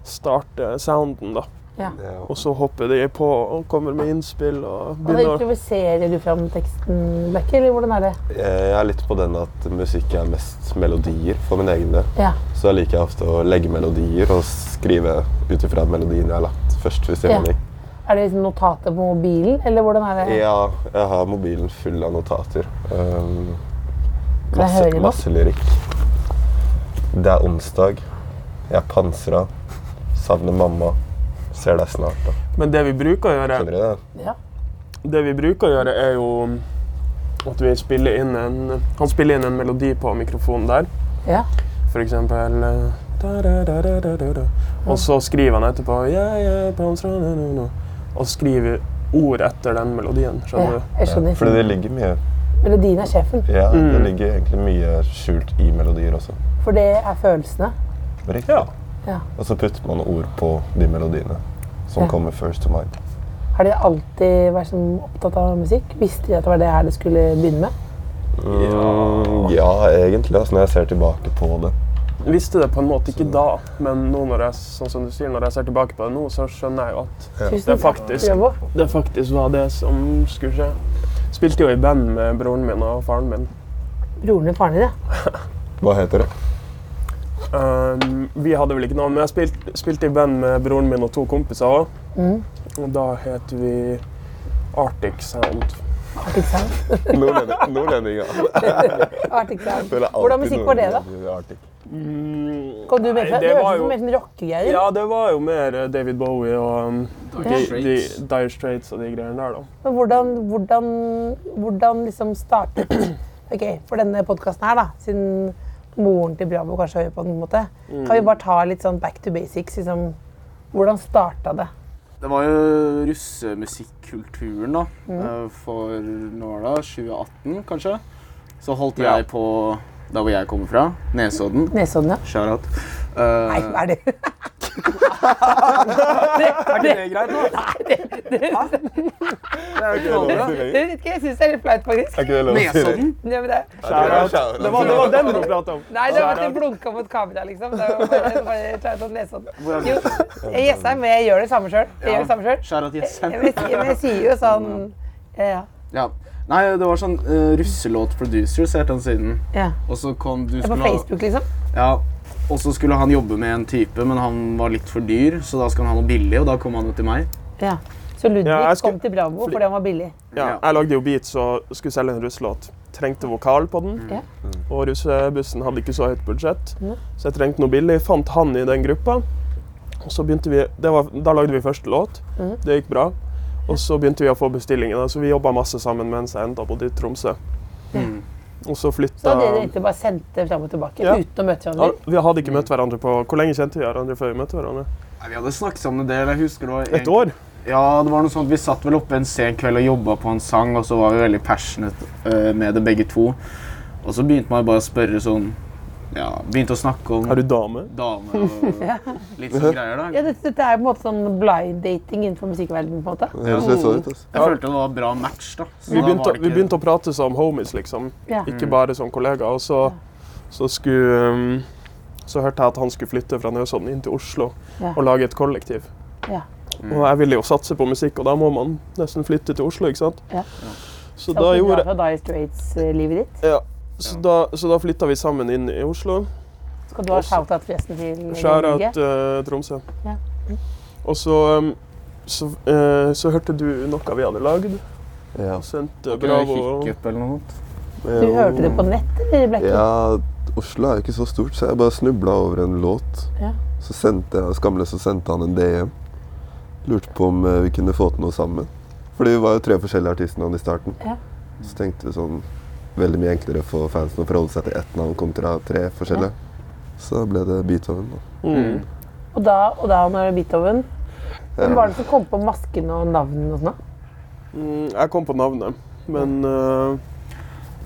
[SPEAKER 9] starter sounden, da.
[SPEAKER 7] Ja.
[SPEAKER 9] Og så hopper de på og kommer med innspill og
[SPEAKER 3] Og da
[SPEAKER 9] begynner å
[SPEAKER 3] Altså, improviserer du fram teksten, Becky, eller hvordan er det?
[SPEAKER 7] Jeg er litt på den at musikk er mest melodier for min egen del.
[SPEAKER 3] Ja.
[SPEAKER 7] Så jeg liker ofte å legge melodier og skrive ut ifra melodien jeg har lagt først. hvis jeg
[SPEAKER 3] Ja.
[SPEAKER 7] må det.
[SPEAKER 3] Er det liksom notater på mobilen, eller hvordan er det?
[SPEAKER 7] Ja, jeg har mobilen full av notater. Um,
[SPEAKER 3] Kan jeg
[SPEAKER 7] masse,
[SPEAKER 3] høre noe?
[SPEAKER 7] masse lyrikk. Det er onsdag. Jeg er pansra. Savner mamma. Ser deg snart. da.
[SPEAKER 9] Men det vi bruker å gjøre,
[SPEAKER 7] Skjønner du det?
[SPEAKER 9] det vi bruker å gjøre er jo at vi spiller inn en, han spiller inn en melodi på mikrofonen der.
[SPEAKER 3] Ja.
[SPEAKER 9] For eksempel eh, da-da-da-da-da-da. Og så skriver han etterpå «Jeg er på hans ra-na-na-na», Og skriver ord etter den melodien.
[SPEAKER 3] Ja,
[SPEAKER 9] Skjønner du?
[SPEAKER 3] jeg skjønner.
[SPEAKER 7] Fordi det ligger mye
[SPEAKER 3] Melodien er sjefen,
[SPEAKER 7] Ja, det
[SPEAKER 9] Mm.
[SPEAKER 7] ligger egentlig mye skjult i melodier også.
[SPEAKER 3] for det er følelsene.
[SPEAKER 7] Riktig.
[SPEAKER 3] Ja.
[SPEAKER 7] Og så putter man ord på de melodiene som
[SPEAKER 3] Ja.
[SPEAKER 7] kommer first to mind.
[SPEAKER 3] Har dere alltid vært sånn opptatt av musikk? Visste dere at det var det her det skulle begynne med?
[SPEAKER 7] Mm, ja, egentlig. Altså, når jeg ser tilbake på det.
[SPEAKER 9] Visste det på en måte ikke da, men nå når jeg, sånn som du sier, når jeg ser tilbake på det nå, så skjønner jeg jo at
[SPEAKER 3] Tusen
[SPEAKER 9] Det er
[SPEAKER 3] takk,
[SPEAKER 9] faktisk-
[SPEAKER 3] Bravo.
[SPEAKER 9] det faktisk var det som skulle skje. Spilte jo i band med broren min og faren min.
[SPEAKER 3] *laughs* Broren din, faren din, ja.
[SPEAKER 7] Hva heter det?
[SPEAKER 9] Um, vi hadde vel ikke navn, men jeg spilte, spilte i band med broren min og to kompiser òg.
[SPEAKER 3] Mhm.
[SPEAKER 9] Og da het vi Arctic Sound.
[SPEAKER 3] Arctic Sound.
[SPEAKER 7] Nordlending- Nordlendinger.
[SPEAKER 3] Arctic Sound.
[SPEAKER 7] Føler alltid
[SPEAKER 3] Hvordan musikk var det, da?
[SPEAKER 7] nordlendinger i Arctic.
[SPEAKER 9] Mm,
[SPEAKER 3] Kom du med
[SPEAKER 9] nei,
[SPEAKER 3] fra?
[SPEAKER 9] det
[SPEAKER 3] Det
[SPEAKER 9] var
[SPEAKER 3] hørtes ut som
[SPEAKER 9] jo-
[SPEAKER 3] mer sånn rockegreier.
[SPEAKER 9] Ja, det var jo mer eh, David Bowie og um, de, de,
[SPEAKER 6] Straits.
[SPEAKER 9] Dire Straits og de greiene der, da.
[SPEAKER 3] Men hvordan, hvordan, hvordan liksom startet *clears throat* Ok, for denne podkasten her, da, siden moren til Bravo kanskje hører på den på en måte,
[SPEAKER 9] Mm.
[SPEAKER 3] kan vi bare ta litt sånn back to basics? liksom, Hvordan starta det?
[SPEAKER 6] Det var jo russemusikkulturen da,
[SPEAKER 3] Mm.
[SPEAKER 6] eh, for nåla, 2018 kanskje. Så holdt
[SPEAKER 9] Ja.
[SPEAKER 6] jeg på der hvor jeg kommer fra, Nesodden.
[SPEAKER 3] Nesodden, ja.
[SPEAKER 6] Shout-out.
[SPEAKER 3] Nei,
[SPEAKER 6] Eh,
[SPEAKER 3] er det
[SPEAKER 6] er ikke det greit nå? Nei, det, er jo ikke lov, da.
[SPEAKER 3] *laughs* Jeg vet ikke, jeg syns det er litt flaut, faktisk.
[SPEAKER 7] Er ikke det lov å si? det?
[SPEAKER 6] Nesodden?
[SPEAKER 3] Ja, men det,
[SPEAKER 9] Det var, det var den du prata om.
[SPEAKER 3] nei, det var at jeg blunka mot kameraet, liksom. Det var bare, det var bare kleint å lese sånn. Jo, jeg gjesser, men jeg gjør det samme sjøl. Jeg gjør det samme selv.
[SPEAKER 6] Shout-out Jessheim.
[SPEAKER 3] Jeg, jeg, jeg sier jo sånn ja, ja.
[SPEAKER 6] Ja. Nei, det var sånn eh, russelåt producers helt den siden.
[SPEAKER 3] ja.
[SPEAKER 6] Og så kom du
[SPEAKER 3] Det er På
[SPEAKER 6] skulle ha-
[SPEAKER 3] Facebook, liksom.
[SPEAKER 6] Ja, og så skulle han jobbe med en type, men han var litt for dyr, så da skulle han ha noe billig, og da kom han jo til meg.
[SPEAKER 3] Ja. Så Ludvig
[SPEAKER 9] Ja, jeg skulle-
[SPEAKER 3] kom til Bravo fordi han var billig.
[SPEAKER 9] Ja, jeg lagde jo beats og skulle selge en russelåt. Trengte vokal på den.
[SPEAKER 3] Ja.
[SPEAKER 9] Og russebussen hadde ikke så høyt budsjett,
[SPEAKER 3] Nei.
[SPEAKER 9] så jeg trengte noe billig. Fant han i den gruppa. Og så begynte vi, det var, Da lagde vi første låt.
[SPEAKER 3] Mhm.
[SPEAKER 9] Det gikk bra. Og så begynte vi å få bestillinger, så vi jobba masse sammen mens jeg enda bodde i Tromsø.
[SPEAKER 6] Mhm.
[SPEAKER 9] Og så
[SPEAKER 3] Så
[SPEAKER 9] flytta
[SPEAKER 3] hadde dere egentlig bare sendt det fram og tilbake
[SPEAKER 9] Ja.
[SPEAKER 3] uten å møte
[SPEAKER 9] ja,
[SPEAKER 3] hverandre?
[SPEAKER 9] Vi hadde ikke møtt hverandre på Hvor lenge kjente vi hverandre før vi møtte hverandre?
[SPEAKER 6] Nei, vi hadde snakket sammen en del. jeg husker det var...
[SPEAKER 9] Et år?
[SPEAKER 6] Ja, det var noe sånt. Vi satt vel oppe en sen kveld og jobba på en sang, og så var vi veldig passionate eh, med det begge to. Og så begynte man bare å spørre sånn Ja, begynte å snakke om
[SPEAKER 9] Er du dame?
[SPEAKER 6] damer
[SPEAKER 3] *laughs*
[SPEAKER 6] og litt sånne greier, da.
[SPEAKER 3] Ja, dette, dette er på en måte sånn blind dating innenfor musikkverdenen. på en måte.
[SPEAKER 7] Det høres litt sånn ut. altså.
[SPEAKER 6] Jeg følte det var en bra match, da. Så
[SPEAKER 9] Vi
[SPEAKER 6] da
[SPEAKER 9] begynte,
[SPEAKER 6] var det
[SPEAKER 9] vi
[SPEAKER 6] ikke-
[SPEAKER 9] begynte å prate som homies, liksom.
[SPEAKER 3] Ja.
[SPEAKER 9] Ikke bare som kollegaer. Og så, så skulle um, Så hørte jeg at han skulle flytte fra Nøsodden inn til Oslo
[SPEAKER 3] Ja.
[SPEAKER 9] og lage et kollektiv.
[SPEAKER 3] Ja.
[SPEAKER 6] Mm.
[SPEAKER 9] Og jeg ville jo satse på musikk, og da må man nesten flytte til Oslo, ikke sant?
[SPEAKER 3] Ja.
[SPEAKER 9] Så
[SPEAKER 3] Da
[SPEAKER 9] da, gjorde,
[SPEAKER 3] Fra Dire Straits-livet ditt.
[SPEAKER 9] ja, så, da, så da flytta vi sammen inn i Oslo.
[SPEAKER 3] Skal du ha
[SPEAKER 9] Også-
[SPEAKER 3] shout-out forresten til
[SPEAKER 9] Skjærat
[SPEAKER 3] Norge?
[SPEAKER 9] uh, Tromsø.
[SPEAKER 3] Ja.
[SPEAKER 9] Og så, um, så, eh, så hørte du noe vi hadde lagd,
[SPEAKER 7] Ja.
[SPEAKER 9] og sendte
[SPEAKER 6] Ikke noe
[SPEAKER 9] Bravo og
[SPEAKER 6] hiccup eller noe sånt.
[SPEAKER 3] Du hørte det på nett, eller ble ikke
[SPEAKER 7] Ja, Oslo er jo ikke så stort, så jeg bare snubla over en låt.
[SPEAKER 3] Ja.
[SPEAKER 7] Så sendte jeg, skamløs, så sendte han en DM. Lurte på om eh, vi kunne få til noe sammen. Fordi vi var jo tre forskjellige artistnavn i starten.
[SPEAKER 3] Ja.
[SPEAKER 7] Så tenkte vi sånn Veldig mye enklere for fansen å forholde seg til ett navn kontra tre forskjellige. Så da ble det Beethoven. da.
[SPEAKER 9] mm.
[SPEAKER 3] Og da, og da når Beethoven Hvem
[SPEAKER 7] Ja.
[SPEAKER 3] var det som kom på masken og navnene og sånn? da?
[SPEAKER 9] Mm, Jeg kom på navnet, men eh,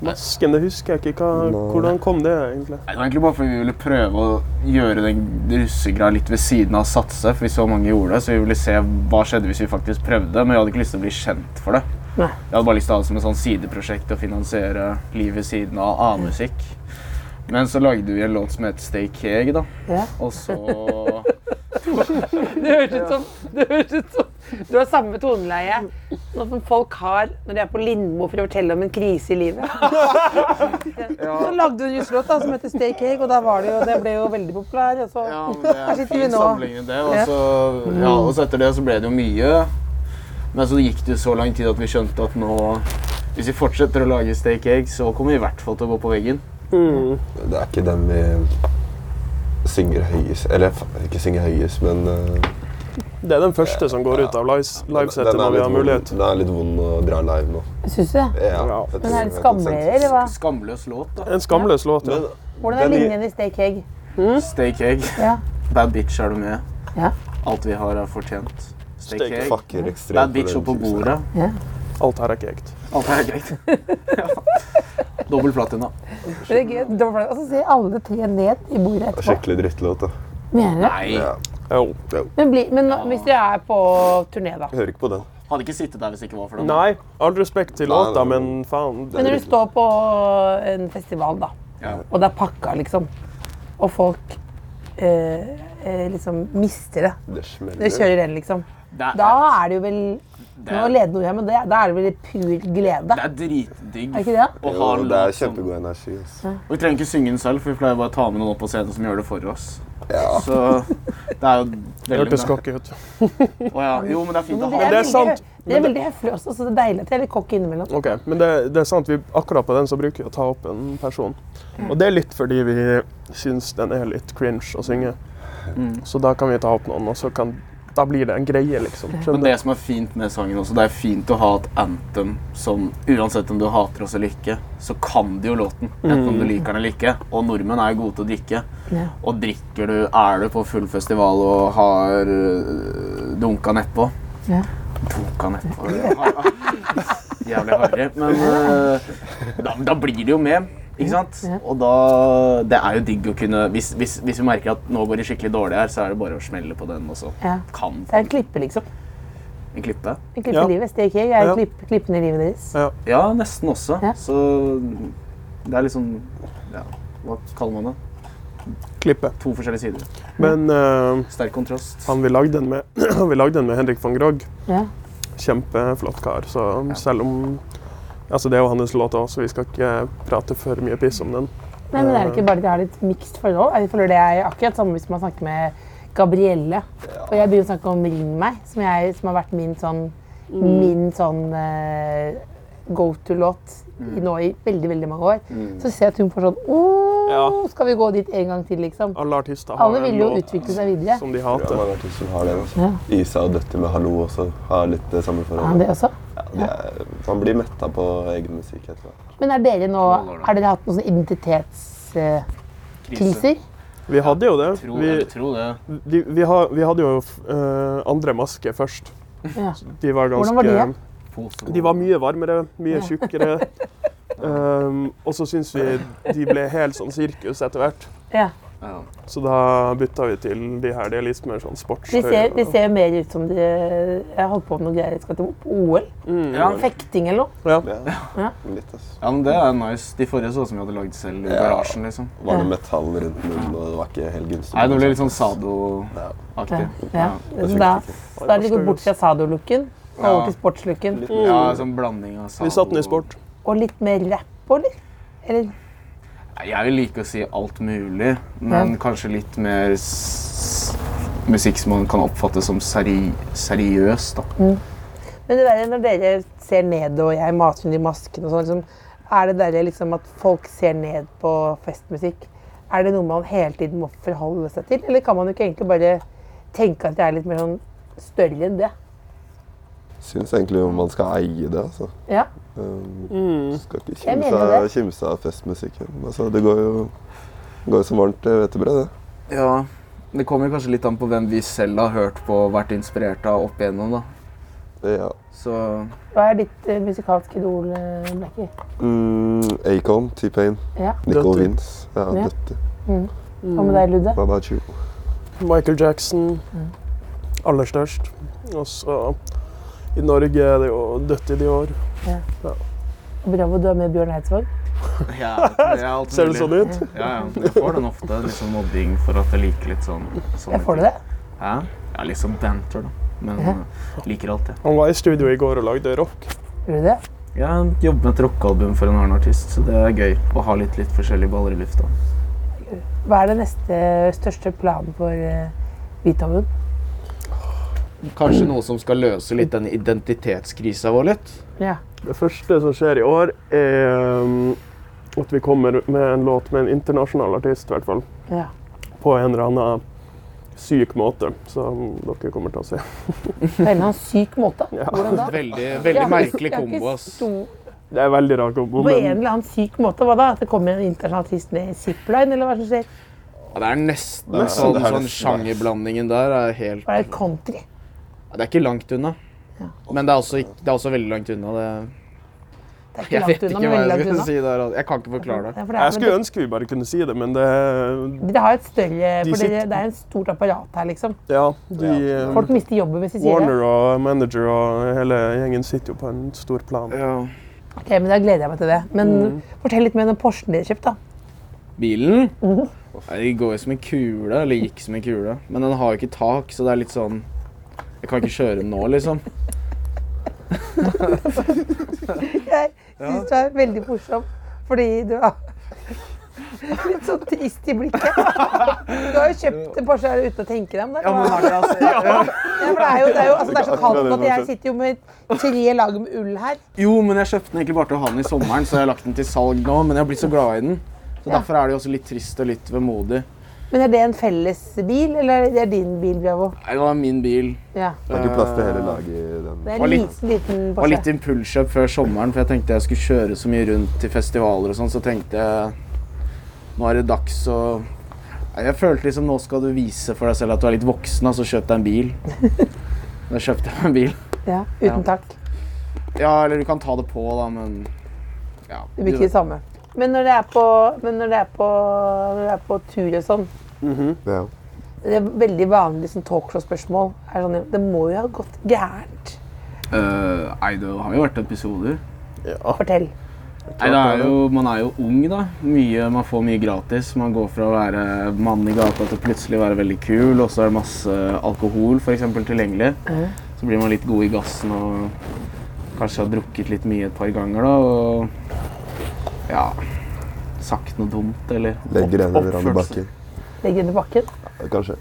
[SPEAKER 9] masken det husker jeg ikke. Hva,
[SPEAKER 7] Nei.
[SPEAKER 9] hvordan kom det, egentlig?
[SPEAKER 6] Nei, Det var egentlig bare fordi vi ville prøve å gjøre den russegreia litt ved siden av satse. For vi så mange gjorde det, så vi ville se hva skjedde hvis vi faktisk prøvde. Men jeg hadde ikke lyst til å bli kjent for det.
[SPEAKER 3] Nei.
[SPEAKER 6] Jeg hadde bare lyst til å ha det som et sånn sideprosjekt og finansiere liv ved siden av annen musikk. Men så lagde vi en låt som het Stay Keg, da.
[SPEAKER 3] Ja.
[SPEAKER 6] Og så
[SPEAKER 3] *laughs* *laughs* Det høres ut som det høres ut som, Du har samme toneleie nå som folk har når de er på Lindmo for å fortelle om en krise i livet.
[SPEAKER 6] *laughs*
[SPEAKER 3] Så lagde du en russelåt da, som heter 'Stay Cake', og da var det jo, det ble jo veldig populær. Og så,
[SPEAKER 6] Ja,
[SPEAKER 3] *laughs*
[SPEAKER 6] men det
[SPEAKER 3] Her
[SPEAKER 6] er
[SPEAKER 3] sitter vi
[SPEAKER 6] fin
[SPEAKER 3] nå.
[SPEAKER 6] sammenligning det. Og
[SPEAKER 3] Ja.
[SPEAKER 6] så, ja, og så etter det så ble det jo mye. Men så gikk det jo så lang tid at vi skjønte at nå Hvis vi fortsetter å lage steak egg, så kommer vi i hvert fall til å gå på veggen.
[SPEAKER 7] Det er ikke den vi synger høyest Eller fa- ikke synger høyest, men eh,
[SPEAKER 9] Det er den første som går ut av lives- livesettet
[SPEAKER 7] den er
[SPEAKER 9] når vi
[SPEAKER 7] litt
[SPEAKER 9] har
[SPEAKER 7] vond-
[SPEAKER 9] mulighet.
[SPEAKER 7] Den er litt vond å dra live nå.
[SPEAKER 3] Syns du det?
[SPEAKER 7] Ja.
[SPEAKER 9] Ja.
[SPEAKER 7] jeg
[SPEAKER 3] Men er
[SPEAKER 7] tror
[SPEAKER 3] det
[SPEAKER 7] vi har
[SPEAKER 3] skamlere,
[SPEAKER 7] konsensus.
[SPEAKER 3] eller hva?
[SPEAKER 6] Skamløs låt, da.
[SPEAKER 9] En skamløs låt. Ja.
[SPEAKER 7] Men
[SPEAKER 3] Hvordan er
[SPEAKER 7] Den-
[SPEAKER 3] linjene i 'Stay Cake'?
[SPEAKER 6] Steak egg.
[SPEAKER 3] Mm. Ja.
[SPEAKER 6] Bad bitch er du med.
[SPEAKER 3] Ja.
[SPEAKER 6] Alt vi har er fortjent. Steak
[SPEAKER 9] Steak
[SPEAKER 6] egg.
[SPEAKER 7] fucker ekstremt.
[SPEAKER 6] Bad bitch opp på
[SPEAKER 7] med den
[SPEAKER 6] bordet.
[SPEAKER 9] Alt her er ikke ekte.
[SPEAKER 6] Alt er greit. *laughs* ja. Dobbel platina.
[SPEAKER 3] Det er gøy. Da var det- Og så ser alle tre ned i bordet
[SPEAKER 7] Det er
[SPEAKER 3] etterpå.
[SPEAKER 7] Skikkelig drittlåt. da.
[SPEAKER 3] Mener du?
[SPEAKER 6] Nei.
[SPEAKER 7] Ja.
[SPEAKER 9] Jo.
[SPEAKER 3] Men, bli, men nå- hvis dere er på turné, da.
[SPEAKER 7] Jeg hører ikke på den.
[SPEAKER 6] Hadde ikke sittet der hvis det ikke var for den.
[SPEAKER 9] Nei, all respekt til
[SPEAKER 7] Nei,
[SPEAKER 9] låta,
[SPEAKER 7] nei, nei.
[SPEAKER 9] men faen.
[SPEAKER 3] Men når du står på en festival, da,
[SPEAKER 6] Ja.
[SPEAKER 3] og det er pakka, liksom, og folk eh, eh, liksom mister det
[SPEAKER 7] Det smeller.
[SPEAKER 3] Dere kjører den, liksom.
[SPEAKER 6] Det er-
[SPEAKER 3] Da er det jo vel
[SPEAKER 6] Det
[SPEAKER 3] Nå
[SPEAKER 6] er,
[SPEAKER 3] leder noe hjem, men det, da er det vel i pur glede.
[SPEAKER 6] det er dritdigg.
[SPEAKER 3] Er det ikke det?
[SPEAKER 6] å
[SPEAKER 7] Jo,
[SPEAKER 6] ha en
[SPEAKER 7] det
[SPEAKER 6] låt
[SPEAKER 7] er
[SPEAKER 6] som-
[SPEAKER 7] kjempegod energi. altså. ass.
[SPEAKER 6] Og Vi trenger ikke synge den selv, for vi pleier bare å ta med noen opp på scenen som gjør det for oss.
[SPEAKER 7] Ja.
[SPEAKER 6] Så det er jo
[SPEAKER 9] Det
[SPEAKER 6] veldig
[SPEAKER 9] hørtes
[SPEAKER 6] bra.
[SPEAKER 9] cocky ut.
[SPEAKER 6] Å ja. Jo, men det er fint å
[SPEAKER 3] Men
[SPEAKER 6] ha
[SPEAKER 9] det er
[SPEAKER 3] veldig-
[SPEAKER 9] sant.
[SPEAKER 3] Det er veldig høflig også, så det er deilig at jeg er litt cocky innimellom.
[SPEAKER 9] Ok, Men det, det er sant, vi, akkurat på den så bruker vi å ta opp en person. Og det er litt fordi vi syns den er litt cringe å synge.
[SPEAKER 6] Mm.
[SPEAKER 9] Så da kan vi ta opp noen, og så kan, da blir det en greie, liksom.
[SPEAKER 6] Men
[SPEAKER 9] Skjønner du?
[SPEAKER 6] det som er fint med sangen også, det er fint å ha et anthem som uansett om du hater oss eller ikke, så kan du jo låten. Enten
[SPEAKER 3] Mm.
[SPEAKER 6] om du liker den eller ikke. Og nordmenn er gode til å drikke.
[SPEAKER 3] Ja.
[SPEAKER 6] Og drikker du, er du på full festival og har øh, dunka nedpå
[SPEAKER 3] Ja.
[SPEAKER 6] Dunka nedpå *laughs* Jævlig harry. Men øh, da, da blir det jo med. Ikke sant?
[SPEAKER 3] Ja.
[SPEAKER 6] Og da Det er jo digg å kunne Hvis, hvis, hvis vi merker at nå går det skikkelig dårlig her, så er det bare å smelle på den, og så
[SPEAKER 3] Ja.
[SPEAKER 6] kan
[SPEAKER 3] Det er en klippe, liksom.
[SPEAKER 6] vi klippe.
[SPEAKER 3] En klippe
[SPEAKER 9] Ja.
[SPEAKER 3] i livet. Stay Cake er
[SPEAKER 9] Ja.
[SPEAKER 3] en klipp, klippen i livet deres.
[SPEAKER 6] Ja, nesten også.
[SPEAKER 3] Ja.
[SPEAKER 6] Så det er liksom ja, Hva kaller man det?
[SPEAKER 9] Klippe.
[SPEAKER 6] To forskjellige sider.
[SPEAKER 9] Men eh,
[SPEAKER 6] Sterk kontrast.
[SPEAKER 9] han vi lagde den med, *clears throat* vi lagde den med Henrik van Grogg.
[SPEAKER 3] Ja.
[SPEAKER 9] Kjempeflott kar. Så selv om Altså, det er jo hans låt òg, så vi skal ikke prate for mye piss om den.
[SPEAKER 3] Nei, men er det ikke bare at jeg har litt mixed forhold? Jeg føler det er akkurat samme hvis man snakker med Gabrielle. Og jeg begynner å snakke om Ring meg, som, jeg, som har vært min sånn,
[SPEAKER 9] Mm.
[SPEAKER 3] min sånn eh, go to-låt i- nå i veldig, veldig mange år. Så ser jeg at hun får sånn Åh,
[SPEAKER 9] Mm. Ja.
[SPEAKER 3] skal vi gå dit en gang til, liksom?
[SPEAKER 9] Alle artister har
[SPEAKER 3] Alle
[SPEAKER 9] en
[SPEAKER 3] vil jo
[SPEAKER 9] låt
[SPEAKER 3] utvikle seg videre.
[SPEAKER 9] som de
[SPEAKER 7] Ja,
[SPEAKER 9] hater.
[SPEAKER 7] mange artister har det. Altså. Isa og Døtti med 'Hallo' også har litt det samme
[SPEAKER 3] Ja,
[SPEAKER 7] forholdet.
[SPEAKER 3] det også.
[SPEAKER 7] Det er, man blir metta på egen musikk etter hvert.
[SPEAKER 3] Men er dere nå Har dere hatt noen sånn eh, sånne identitetskriser?
[SPEAKER 9] Vi hadde jo det.
[SPEAKER 6] Tro,
[SPEAKER 9] Vi,
[SPEAKER 6] jeg tro det.
[SPEAKER 9] de, vi, har, vi hadde jo eh, andre maske først.
[SPEAKER 3] Ja.
[SPEAKER 9] De var ganske
[SPEAKER 3] Hvordan var de?
[SPEAKER 9] De var mye varmere, mye
[SPEAKER 3] *laughs*
[SPEAKER 9] tjukkere. Ehm, og så syns vi de ble helt sånn sirkus etter hvert.
[SPEAKER 3] Ja.
[SPEAKER 9] Så da bytta vi til de her. De er litt mer sånn
[SPEAKER 3] De
[SPEAKER 9] sportstøy.
[SPEAKER 3] ser, de ser mer ut som de Jeg holdt på med noe greier. Jeg skal til OL.
[SPEAKER 9] Mm.
[SPEAKER 6] Ja.
[SPEAKER 3] Fekting eller noe.
[SPEAKER 9] Ja.
[SPEAKER 7] Ja. Litt, altså. ass.
[SPEAKER 6] ja, men Det er nice. De forrige så ut som vi hadde lagd selv i
[SPEAKER 7] Ja.
[SPEAKER 6] garasjen. liksom.
[SPEAKER 7] Var det metall rundt munnen, og det var ikke helt gunstig.
[SPEAKER 6] Nei, Det ble litt sånn sado-aktig.
[SPEAKER 3] Ja.
[SPEAKER 7] funker
[SPEAKER 3] Da,
[SPEAKER 7] ikke.
[SPEAKER 3] da har de gått bort fra sadolooken og over til sportslooken.
[SPEAKER 6] Ja, sånn blanding av sado
[SPEAKER 9] Vi satte den i sport.
[SPEAKER 3] Og litt mer rapp, eller? Eller
[SPEAKER 6] Nei, Jeg vil like å si alt mulig, men kanskje litt mer s musikk som man kan oppfatte som seri seriøs. da.
[SPEAKER 3] Men det der når dere ser ned, og jeg maser henne i masken og sånn, liksom, er det der liksom at folk ser ned på festmusikk? Er det noe man hele tiden må forholde seg til? Eller kan man jo ikke egentlig bare tenke at det er litt mer sånn større enn det?
[SPEAKER 7] Syns egentlig man skal eie det, altså.
[SPEAKER 3] Ja.
[SPEAKER 7] Um,
[SPEAKER 9] Mm.
[SPEAKER 7] Skal ikke
[SPEAKER 3] Jeg
[SPEAKER 7] kimse
[SPEAKER 3] mener
[SPEAKER 7] av-
[SPEAKER 3] det.
[SPEAKER 7] kimse av festmusikken. Altså, det går jo det går jo som varmt eh, hvetebrød, det.
[SPEAKER 6] Ja, Det kommer kanskje litt an på hvem vi selv har hørt på og vært inspirert av opp igjennom. da.
[SPEAKER 7] det. Ja.
[SPEAKER 6] Så
[SPEAKER 3] Hva er ditt eh, musikalske idol, eh, Blackie?
[SPEAKER 7] Mm, Acon, T-Pain,
[SPEAKER 3] Ja.
[SPEAKER 7] Nico
[SPEAKER 9] Døtti.
[SPEAKER 7] Vince. Ja,
[SPEAKER 3] Ja.
[SPEAKER 7] Døtti.
[SPEAKER 3] Hva med deg, Ludde?
[SPEAKER 7] Hva about you?
[SPEAKER 9] Michael Jackson.
[SPEAKER 3] Mm.
[SPEAKER 9] Aller størst. Og så I Norge er det jo dødt i de år.
[SPEAKER 3] Bravo, du er med Bjørn Eidsvåg.
[SPEAKER 6] ja,
[SPEAKER 3] *laughs*
[SPEAKER 6] det er alt
[SPEAKER 9] Ser det sånn
[SPEAKER 3] Mm.
[SPEAKER 9] ut?
[SPEAKER 6] Ja, ja. Jeg får den ofte. Litt sånn modding for at jeg liker litt sånn. sånne
[SPEAKER 3] Jeg får du
[SPEAKER 6] ting.
[SPEAKER 3] det?
[SPEAKER 6] Ja, ja litt sånn banter, da. Men
[SPEAKER 3] Ja.
[SPEAKER 6] eh, liker alt, jeg.
[SPEAKER 9] Han var i studio i går og lagde rock.
[SPEAKER 3] Gjør du det?
[SPEAKER 6] Jeg jobber med et rockealbum for en annen artist, så det er gøy å ha litt, litt forskjellige baller i lufta.
[SPEAKER 3] Hva er det neste største planen for eh, Beethoven?
[SPEAKER 6] Kanskje noe som skal løse litt den identitetskrisa vår litt?
[SPEAKER 3] Ja.
[SPEAKER 9] Det første som skjer i år, er um, at vi kommer med en låt med en internasjonal artist, i hvert fall.
[SPEAKER 3] Ja.
[SPEAKER 9] På en eller annen syk måte, som dere kommer til å se.
[SPEAKER 3] På en eller annen syk måte. Hvordan da?
[SPEAKER 6] *laughs* Veldig,
[SPEAKER 3] Jeg har ikke-
[SPEAKER 6] merkelig
[SPEAKER 3] jeg har ikke
[SPEAKER 6] kombo, ass.
[SPEAKER 3] stor-
[SPEAKER 9] Det er veldig rar kombo,
[SPEAKER 3] På en
[SPEAKER 9] men
[SPEAKER 3] eller annen syk måte, hva da? At det kommer en internasjonal artist med zipline, eller hva som skjer?
[SPEAKER 6] Ja, det er nesten
[SPEAKER 7] Nei,
[SPEAKER 6] sånn,
[SPEAKER 7] det er
[SPEAKER 6] sånn
[SPEAKER 7] nesten det.
[SPEAKER 6] sjangerblandingen der er helt
[SPEAKER 3] Var det country?
[SPEAKER 6] ja, Det er ikke langt unna. Men det er også, ikke- det er også veldig langt unna. Det,
[SPEAKER 3] Det er ikke
[SPEAKER 6] jeg vet
[SPEAKER 3] langt
[SPEAKER 6] ikke
[SPEAKER 3] unna,
[SPEAKER 6] hva
[SPEAKER 3] men veldig
[SPEAKER 6] jeg
[SPEAKER 3] langt
[SPEAKER 6] skal
[SPEAKER 3] unna.
[SPEAKER 6] si der. altså. Jeg kan ikke forklare det.
[SPEAKER 3] Ja, for det er-
[SPEAKER 9] jeg skulle ønske vi bare kunne si det, men det
[SPEAKER 3] men Det har et større For
[SPEAKER 9] De
[SPEAKER 3] det,
[SPEAKER 9] sitter-
[SPEAKER 3] det er et stort apparat her, liksom.
[SPEAKER 9] Ja, de um,
[SPEAKER 3] Folk mister jobben hvis de sier det.
[SPEAKER 9] Warner og manager og hele gjengen sitter jo på en stor plan.
[SPEAKER 6] Ja.
[SPEAKER 3] Ok, men Da gleder jeg meg til det. Men
[SPEAKER 9] Mm.
[SPEAKER 3] fortell litt mer om den Porschen dere kjøpte. da.
[SPEAKER 6] Bilen
[SPEAKER 3] Uh-huh.
[SPEAKER 6] Nei, de går jo som en kule, eller gikk som en kule. Men den har jo ikke tak, så det er litt sånn Jeg kan ikke kjøre den nå, liksom.
[SPEAKER 3] Jeg syns du er veldig morsom fordi du er *laughs* litt sånn trist i blikket. Du har jo kjøpt en Porsche her uten å tenke deg om. Det,
[SPEAKER 8] Ja, men har dere
[SPEAKER 6] *laughs*
[SPEAKER 8] altså,
[SPEAKER 3] ja, for det, er, jo, det, er, jo, altså, det er så kaldt at jeg sitter jo med tre lag med ull her.
[SPEAKER 6] Jo, men jeg kjøpte den egentlig bare til å ha den i sommeren, så jeg har lagt den til salg nå. Men jeg har blitt så glad i den. Så Derfor er det jo også litt trist og litt vemodig.
[SPEAKER 3] Men er det en felles bil, eller er det din bil, Bravo?
[SPEAKER 6] Nei, Det var min bil.
[SPEAKER 3] Ja.
[SPEAKER 7] Det er ikke plass til hele laget i den.
[SPEAKER 3] Det er
[SPEAKER 6] Og
[SPEAKER 3] en
[SPEAKER 6] litt-
[SPEAKER 3] liten, liten
[SPEAKER 6] Det var litt
[SPEAKER 3] Porsche.
[SPEAKER 6] impulskjøp før sommeren, for jeg tenkte jeg skulle kjøre så mye rundt til festivaler og sånn, så tenkte jeg nå er det dags å Nei, Jeg følte liksom nå skal du vise for deg selv at du er litt voksen, og så kjøp deg en
[SPEAKER 3] *laughs*
[SPEAKER 6] bil. Da kjøpte jeg meg en bil.
[SPEAKER 3] Ja, uten tak.
[SPEAKER 6] Ja, eller du kan ta det på, da, men ja.
[SPEAKER 3] Det blir ikke det samme. Men når det er på, men når det er på, når det er på tur og sånn
[SPEAKER 7] Ja.
[SPEAKER 3] Det er veldig vanlig sånn talkshow-spørsmål. er Sånn, det må jo ha gått gærent.
[SPEAKER 6] Øh, nei, det har jo vært episoder.
[SPEAKER 3] Fortell.
[SPEAKER 6] Nei, det er jo, Man er jo ung, da. Mye, man får mye gratis. Man går fra å være mann i gata til plutselig å være veldig kul, og så er det masse alkohol for eksempel, tilgjengelig. Så blir man litt god i gassen og kanskje har drukket litt mye et par ganger, da, og ja Sagt noe dumt, eller
[SPEAKER 7] Legger en eller annen i
[SPEAKER 6] oppført seg-
[SPEAKER 7] bakken.
[SPEAKER 3] Legg under bakken.
[SPEAKER 7] Kanskje.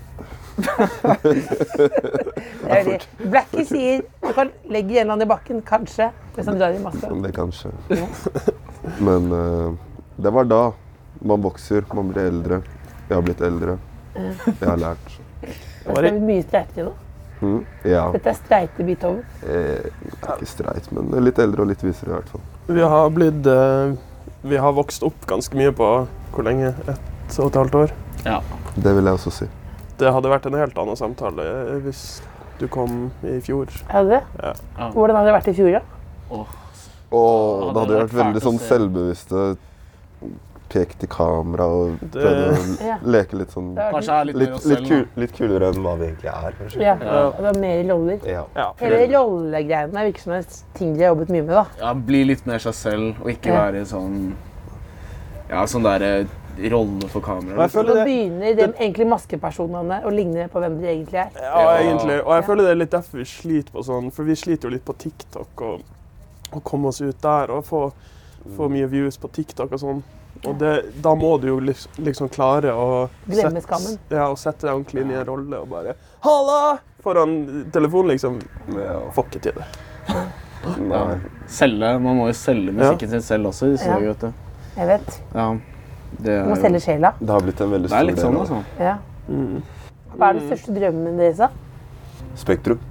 [SPEAKER 3] Det er det. Blackie sier du kan legge en eller annen i bakken, kanskje, hvis han drar i masse.
[SPEAKER 7] Om det kanskje. *laughs* Men eh, det var da. Man vokser, man blir eldre. Jeg har blitt eldre. Jeg har lært.
[SPEAKER 3] Det er mye streitere nå.
[SPEAKER 7] Mm. Ja.
[SPEAKER 3] Dette er streite Beethoven.
[SPEAKER 7] Eh, ikke streit, men litt eldre og litt visere i hvert fall.
[SPEAKER 9] Vi har blitt eh, Vi har vokst opp ganske mye på hvor lenge? Ett og et halvt år?
[SPEAKER 7] Det vil jeg også si.
[SPEAKER 9] Det hadde vært en helt annen samtale eh, hvis du kom i fjor.
[SPEAKER 3] Er det det?
[SPEAKER 6] Ja.
[SPEAKER 3] Hvordan hadde det vært i fjor, da?
[SPEAKER 7] Og
[SPEAKER 6] det
[SPEAKER 7] det hadde
[SPEAKER 6] hadde
[SPEAKER 7] vært
[SPEAKER 6] vært
[SPEAKER 7] veldig
[SPEAKER 6] fælt å
[SPEAKER 7] sånn
[SPEAKER 6] se.
[SPEAKER 7] selvbevisste pekt i kamera og prøvde
[SPEAKER 3] *laughs* Ja.
[SPEAKER 7] å leke litt sånn
[SPEAKER 3] Det hadde vært-
[SPEAKER 6] Kanskje jeg er litt, mer
[SPEAKER 7] Litt,
[SPEAKER 6] oss
[SPEAKER 7] litt,
[SPEAKER 6] selv,
[SPEAKER 7] kul, litt kulere enn hva vi egentlig er, kanskje.
[SPEAKER 3] Ja, det var mer roller.
[SPEAKER 7] Ja.
[SPEAKER 3] Hele rollegreiene virker som det er ting de har jobbet mye med. da.
[SPEAKER 6] da. Ja, Bli litt mer seg selv, og ikke
[SPEAKER 3] Ja.
[SPEAKER 6] være sånn Ja, sånn derre rolle for kamera.
[SPEAKER 9] Jeg
[SPEAKER 6] liksom.
[SPEAKER 3] Så
[SPEAKER 9] føler
[SPEAKER 3] nå
[SPEAKER 9] det,
[SPEAKER 3] begynner de egentlig maskepersonene å ligne på hvem de egentlig er.
[SPEAKER 9] ja, egentlig. Og jeg føler det er litt derfor vi sliter på sånn, for vi sliter jo litt på TikTok og å komme oss ut der og få, få mye views på TikTok og sånn. Og det, da må du jo liks- liksom klare å
[SPEAKER 3] Glemme
[SPEAKER 9] sette-
[SPEAKER 3] skammen.
[SPEAKER 9] Ja, og sette deg ordentlig inn i en rolle og bare Halla! Foran telefonen, liksom.
[SPEAKER 7] Ja.
[SPEAKER 9] Får ikke til det.
[SPEAKER 7] Nei.
[SPEAKER 6] Selge. Man må jo selge musikken sin selv også. i disse
[SPEAKER 3] Ja.
[SPEAKER 6] dager, vet du.
[SPEAKER 3] Jeg vet.
[SPEAKER 6] Ja, det
[SPEAKER 3] Du må
[SPEAKER 6] er jo
[SPEAKER 3] selge sjela.
[SPEAKER 7] Det har blitt en veldig
[SPEAKER 6] Det er
[SPEAKER 7] stor
[SPEAKER 6] litt sånn,
[SPEAKER 7] del av
[SPEAKER 6] altså.
[SPEAKER 3] Ja. Hva er den største drømmen deres, da?
[SPEAKER 7] Spektrum.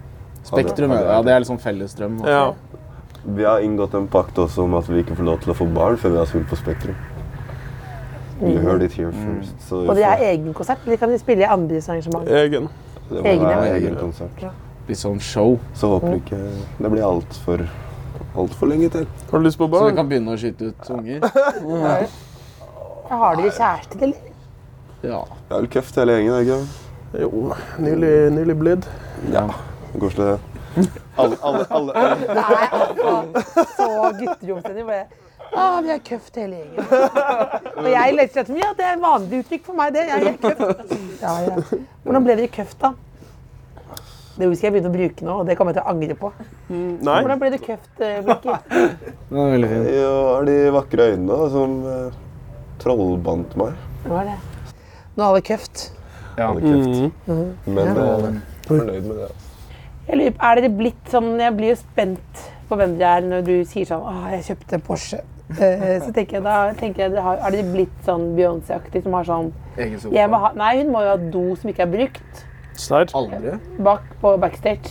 [SPEAKER 6] Spektrum
[SPEAKER 7] Hadde- hadde
[SPEAKER 6] ja, det er liksom fellesdrøm. altså.
[SPEAKER 9] Ja.
[SPEAKER 7] Vi har inngått en pakt også om at vi ikke får lov til å få barn før vi har spilt på Spektrum. You heard it here first. Så vi
[SPEAKER 3] Mm. Og de
[SPEAKER 7] får-
[SPEAKER 3] har egen konsert, eller kan de spille i andres arrangement?
[SPEAKER 9] Egen.
[SPEAKER 7] det må
[SPEAKER 3] egne.
[SPEAKER 7] være egen konsert.
[SPEAKER 6] Litt sånn show.
[SPEAKER 7] Så håper ikke det blir altfor alt for lenge til.
[SPEAKER 9] Har du lyst på
[SPEAKER 6] Så vi
[SPEAKER 9] barn?
[SPEAKER 6] kan begynne å skyte ut unger.
[SPEAKER 3] Har dere kjæreste, eller?
[SPEAKER 6] Ja.
[SPEAKER 7] Det er vel køft hele gjengen, er det ikke det?
[SPEAKER 9] Jo, nylig, nylig blitt.
[SPEAKER 7] Ja. Koselig. det. Alle, alle, alle, alle.
[SPEAKER 3] Nei, altså, så gutteromstendig. Bare ah, vi er køft hele gjengen. Og jeg leter etter Ja, det er et vanlig uttrykk for meg, det. Jeg er køft. Ja, ja. Hvordan ble dere køft, da? Det ordet skal jeg begynne å bruke nå, og det kommer jeg til å angre på.
[SPEAKER 9] Nei.
[SPEAKER 3] Hvordan ble du køft, eh, Blikki?
[SPEAKER 6] Det er veldig fint.
[SPEAKER 7] Jo, er de vakre øynene som eh, trollbandt meg.
[SPEAKER 3] Hva er det? Nå er det køft.
[SPEAKER 7] Hadde
[SPEAKER 9] Mm.
[SPEAKER 7] kreft. Men eh, fornøyd med det. altså.
[SPEAKER 3] Jeg lurer, på, er dere blitt sånn, jeg blir jo spent på hvem dere er når du sier sånn Åh, jeg kjøpte en Porsche. Eh, Så tenker jeg, da tenker jeg, dere har- er dere blitt sånn Beyoncé-aktig som har sånn
[SPEAKER 6] Egen
[SPEAKER 3] jeg må
[SPEAKER 6] sofa.
[SPEAKER 3] ha, Nei, hun må jo ha do som ikke er brukt,
[SPEAKER 9] Serr?
[SPEAKER 6] Aldri.
[SPEAKER 3] bak på backstage.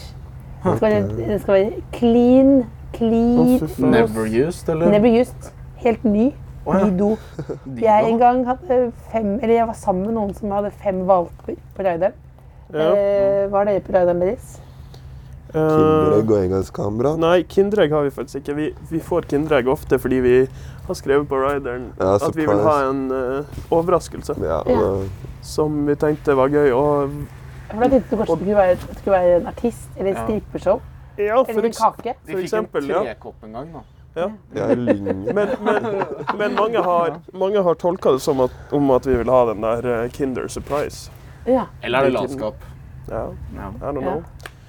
[SPEAKER 3] Den skal være, den skal være clean, clean,
[SPEAKER 9] Å, fy faen.
[SPEAKER 6] Never used, eller?
[SPEAKER 3] never used. Helt ny. Ny
[SPEAKER 9] *laughs*
[SPEAKER 3] do. Jeg en gang hadde fem, eller jeg var sammen med noen som hadde fem valper på Raideren.
[SPEAKER 9] Ja.
[SPEAKER 3] Eh, var dere på Raideren deres?
[SPEAKER 9] Eh,
[SPEAKER 7] Kinderegg og engangskamera.
[SPEAKER 9] Nei, Kinderegg har vi faktisk ikke. Vi, vi får Kinderegg ofte fordi vi har skrevet på rideren
[SPEAKER 7] Ja,
[SPEAKER 9] at vi vil
[SPEAKER 7] surprise.
[SPEAKER 9] ha en eh, overraskelse
[SPEAKER 7] Ja, og
[SPEAKER 9] som vi tenkte var gøy. Og,
[SPEAKER 3] For da tenkte du kanskje det skulle være, det skulle være en artist eller et strippershow.
[SPEAKER 9] ja, for,
[SPEAKER 3] Eller en
[SPEAKER 9] eks,
[SPEAKER 3] kake.
[SPEAKER 6] Vi fikk en
[SPEAKER 9] eksempel, ja.
[SPEAKER 6] trekopp en gang, da.
[SPEAKER 7] det- jeg lynger.
[SPEAKER 9] men, men, men mange har, mange har tolka det som at, om at vi vil ha den der eh, Kinder Surprise.
[SPEAKER 3] Ja.
[SPEAKER 6] Eller er det
[SPEAKER 9] Det er
[SPEAKER 6] latskap?
[SPEAKER 9] Ja, I
[SPEAKER 3] Ja.
[SPEAKER 9] don't know.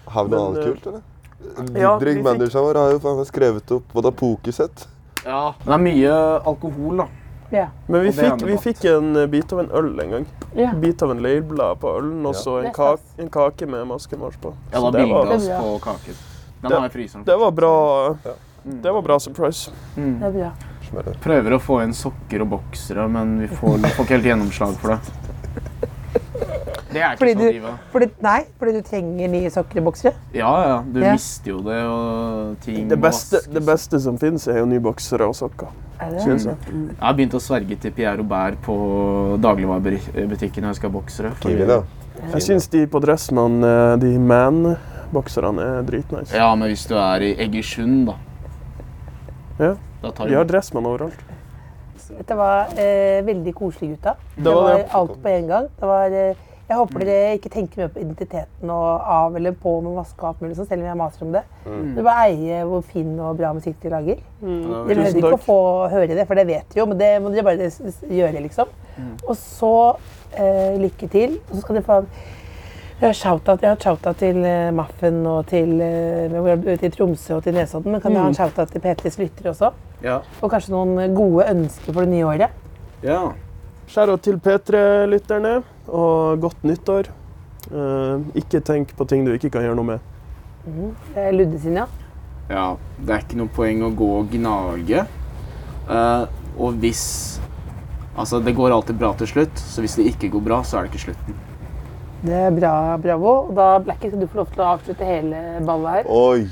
[SPEAKER 7] Har vi noe
[SPEAKER 9] Men,
[SPEAKER 7] annet
[SPEAKER 9] eh,
[SPEAKER 7] kult, eller?
[SPEAKER 9] Ja, vi
[SPEAKER 7] Didrik,
[SPEAKER 9] fikk-
[SPEAKER 7] manageren vår, har jo faen meg skrevet opp både pokersett
[SPEAKER 5] Ja. Det er mye alkohol, da.
[SPEAKER 3] Ja.
[SPEAKER 9] Men vi
[SPEAKER 5] Og det er
[SPEAKER 9] fikk,
[SPEAKER 5] noe
[SPEAKER 9] vi
[SPEAKER 5] godt.
[SPEAKER 9] fikk en eh, bit av en øl en gang.
[SPEAKER 3] ja.
[SPEAKER 9] Bit av en leirblad på ølen og så
[SPEAKER 3] Det
[SPEAKER 9] en,
[SPEAKER 3] er
[SPEAKER 9] kake,
[SPEAKER 3] stas.
[SPEAKER 9] en kake med maskemars på.
[SPEAKER 5] Ja, da
[SPEAKER 9] Så det,
[SPEAKER 5] bildet
[SPEAKER 9] var,
[SPEAKER 3] det
[SPEAKER 5] oss
[SPEAKER 3] er
[SPEAKER 5] på kaken. Den har jeg i fryseren.
[SPEAKER 9] det var bra Det var bra surprise.
[SPEAKER 3] Det er bra.
[SPEAKER 7] Smører.
[SPEAKER 5] Prøver å få inn sokker og boksere, men vi får, vi får ikke helt gjennomslag for det. Det er ikke
[SPEAKER 6] sånn
[SPEAKER 3] Fordi
[SPEAKER 5] så
[SPEAKER 3] du-
[SPEAKER 5] diva.
[SPEAKER 3] Fordi, nei, fordi du trenger nye sokkerboksere.
[SPEAKER 5] Ja, ja. Du
[SPEAKER 3] Ja.
[SPEAKER 5] mister jo det, og ting
[SPEAKER 9] Det
[SPEAKER 5] må
[SPEAKER 9] beste,
[SPEAKER 5] vaskes.
[SPEAKER 9] det beste som fins, er jo nye boksere og sokker.
[SPEAKER 3] Er det?
[SPEAKER 9] Synes jeg.
[SPEAKER 5] Jeg har begynt å sverge til Pierre Robert på dagligvarebutikken når jeg skal ha boksere. fordi-
[SPEAKER 7] Kiwi, da.
[SPEAKER 9] Jeg syns de på Dressmann, eh, de man-bokserne, er dritnice.
[SPEAKER 5] Ja, men hvis du er i Egersund, da.
[SPEAKER 9] Ja.
[SPEAKER 5] Da tar
[SPEAKER 9] De har
[SPEAKER 5] du
[SPEAKER 9] Dressmann overalt.
[SPEAKER 3] Dette var eh, veldig koselig, gutta. Det
[SPEAKER 9] var
[SPEAKER 3] var,
[SPEAKER 9] det.
[SPEAKER 3] alt på en gang. Det var, eh, jeg håper dere ikke tenker mer på identiteten og av eller på med maske og alt mulig sånn, selv om jeg maser om det.
[SPEAKER 9] Mm.
[SPEAKER 3] Du bare eier hvor fin og bra musikk dere lager. Dere
[SPEAKER 9] Tusen
[SPEAKER 3] behøver ikke
[SPEAKER 9] takk.
[SPEAKER 3] å få høre det, for det vet dere jo, men det må dere bare s- s- gjøre, liksom. Og så eh, lykke til. Og så skal dere få en jeg har shout-out jeg har shout-out til eh, Maffen og til, eh, til Tromsø og til Nesodden, men kan jeg ha en shout-out til P3s lyttere også?
[SPEAKER 5] Ja.
[SPEAKER 3] Og kanskje noen gode ønsker for det nye året?
[SPEAKER 5] ja.
[SPEAKER 9] Skjæra til P3-lytterne, og godt nyttår. Eh, ikke tenk på ting du ikke kan gjøre noe med.
[SPEAKER 3] Det er Ludde sin, ja.
[SPEAKER 5] Ja, det er ikke noe poeng å gå og gnage. Eh, og hvis Altså, det går alltid bra til slutt, så hvis det ikke går bra, så er det ikke slutten.
[SPEAKER 3] Det er bra, bravo. Og da, Blackie, skal du få lov til å avslutte hele ballet her.
[SPEAKER 7] Oi!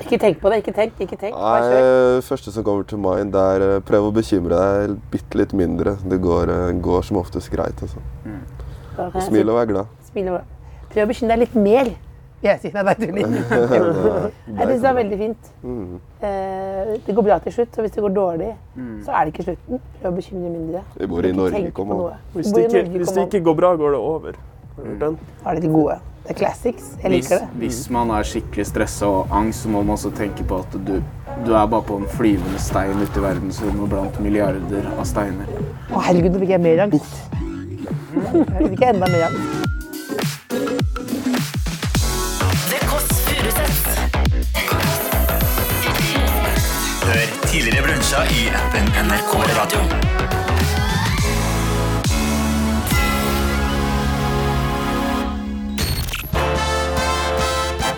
[SPEAKER 3] Ikke tenk på det, ikke tenk, ikke tenk. Bare
[SPEAKER 7] Nei,
[SPEAKER 3] kjør.
[SPEAKER 7] eh, første som kommer til mind, det er eh, prøv å bekymre deg bitte litt mindre. Det går, eh, går som oftest greit. Altså.
[SPEAKER 3] Da kan jeg si-
[SPEAKER 7] Smil og vær glad.
[SPEAKER 3] Smil og Prøv å bekymre deg litt mer. vil Jeg sier nei, nei,
[SPEAKER 7] *laughs*
[SPEAKER 3] tuller. Jeg syns det er sånn Mm. veldig fint. Eh, Det går bra til slutt, og hvis det går dårlig,
[SPEAKER 9] Mm.
[SPEAKER 3] så er det ikke slutten. Prøv å bekymre mindre.
[SPEAKER 7] Vi bor i
[SPEAKER 3] Ikke
[SPEAKER 7] Norge,
[SPEAKER 3] tenk på
[SPEAKER 7] kom an.
[SPEAKER 3] noe. Du
[SPEAKER 9] Hvis
[SPEAKER 3] bor i
[SPEAKER 9] det ikke,
[SPEAKER 3] Norge,
[SPEAKER 9] hvis
[SPEAKER 3] kom
[SPEAKER 9] det
[SPEAKER 3] an.
[SPEAKER 9] ikke går bra, går det over. Har du hørt Den.
[SPEAKER 3] Da er det de gode. Det er classics. Jeg
[SPEAKER 5] Hvis,
[SPEAKER 3] liker det.
[SPEAKER 5] hvis man er skikkelig stressa og angst, så må man også tenke på at du, du er bare på en flyvende stein ute i verdensrommet blant milliarder av steiner.
[SPEAKER 3] Å herregud, nå fikk jeg mer angst. Jeg fikk enda mer angst.
[SPEAKER 10] Det Kåss Furuseths.
[SPEAKER 1] Hør tidligere brunsja i appen NRK Radio.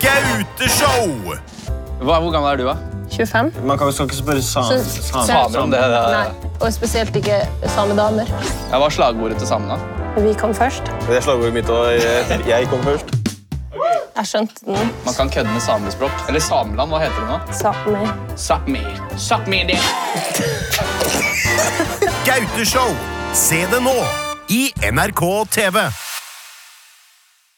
[SPEAKER 1] Gauteshow!
[SPEAKER 6] hvor gammel er du, da?
[SPEAKER 10] 25.
[SPEAKER 11] Man kan, skal ikke spørre sam samer om det.
[SPEAKER 10] Nei. Og spesielt ikke samedamer.
[SPEAKER 6] Jeg var slagordet til samene.
[SPEAKER 10] Vi kom først.
[SPEAKER 11] Det er slagordet mitt, og jeg, jeg kom først.
[SPEAKER 10] Jeg skjønte den.
[SPEAKER 6] Man kan kødde med samespråk. Eller Sameland, hva heter det nå?
[SPEAKER 10] Sami.
[SPEAKER 6] Sápmi. Sápmi det.
[SPEAKER 1] Gauteshow. Se det nå i NRK TV.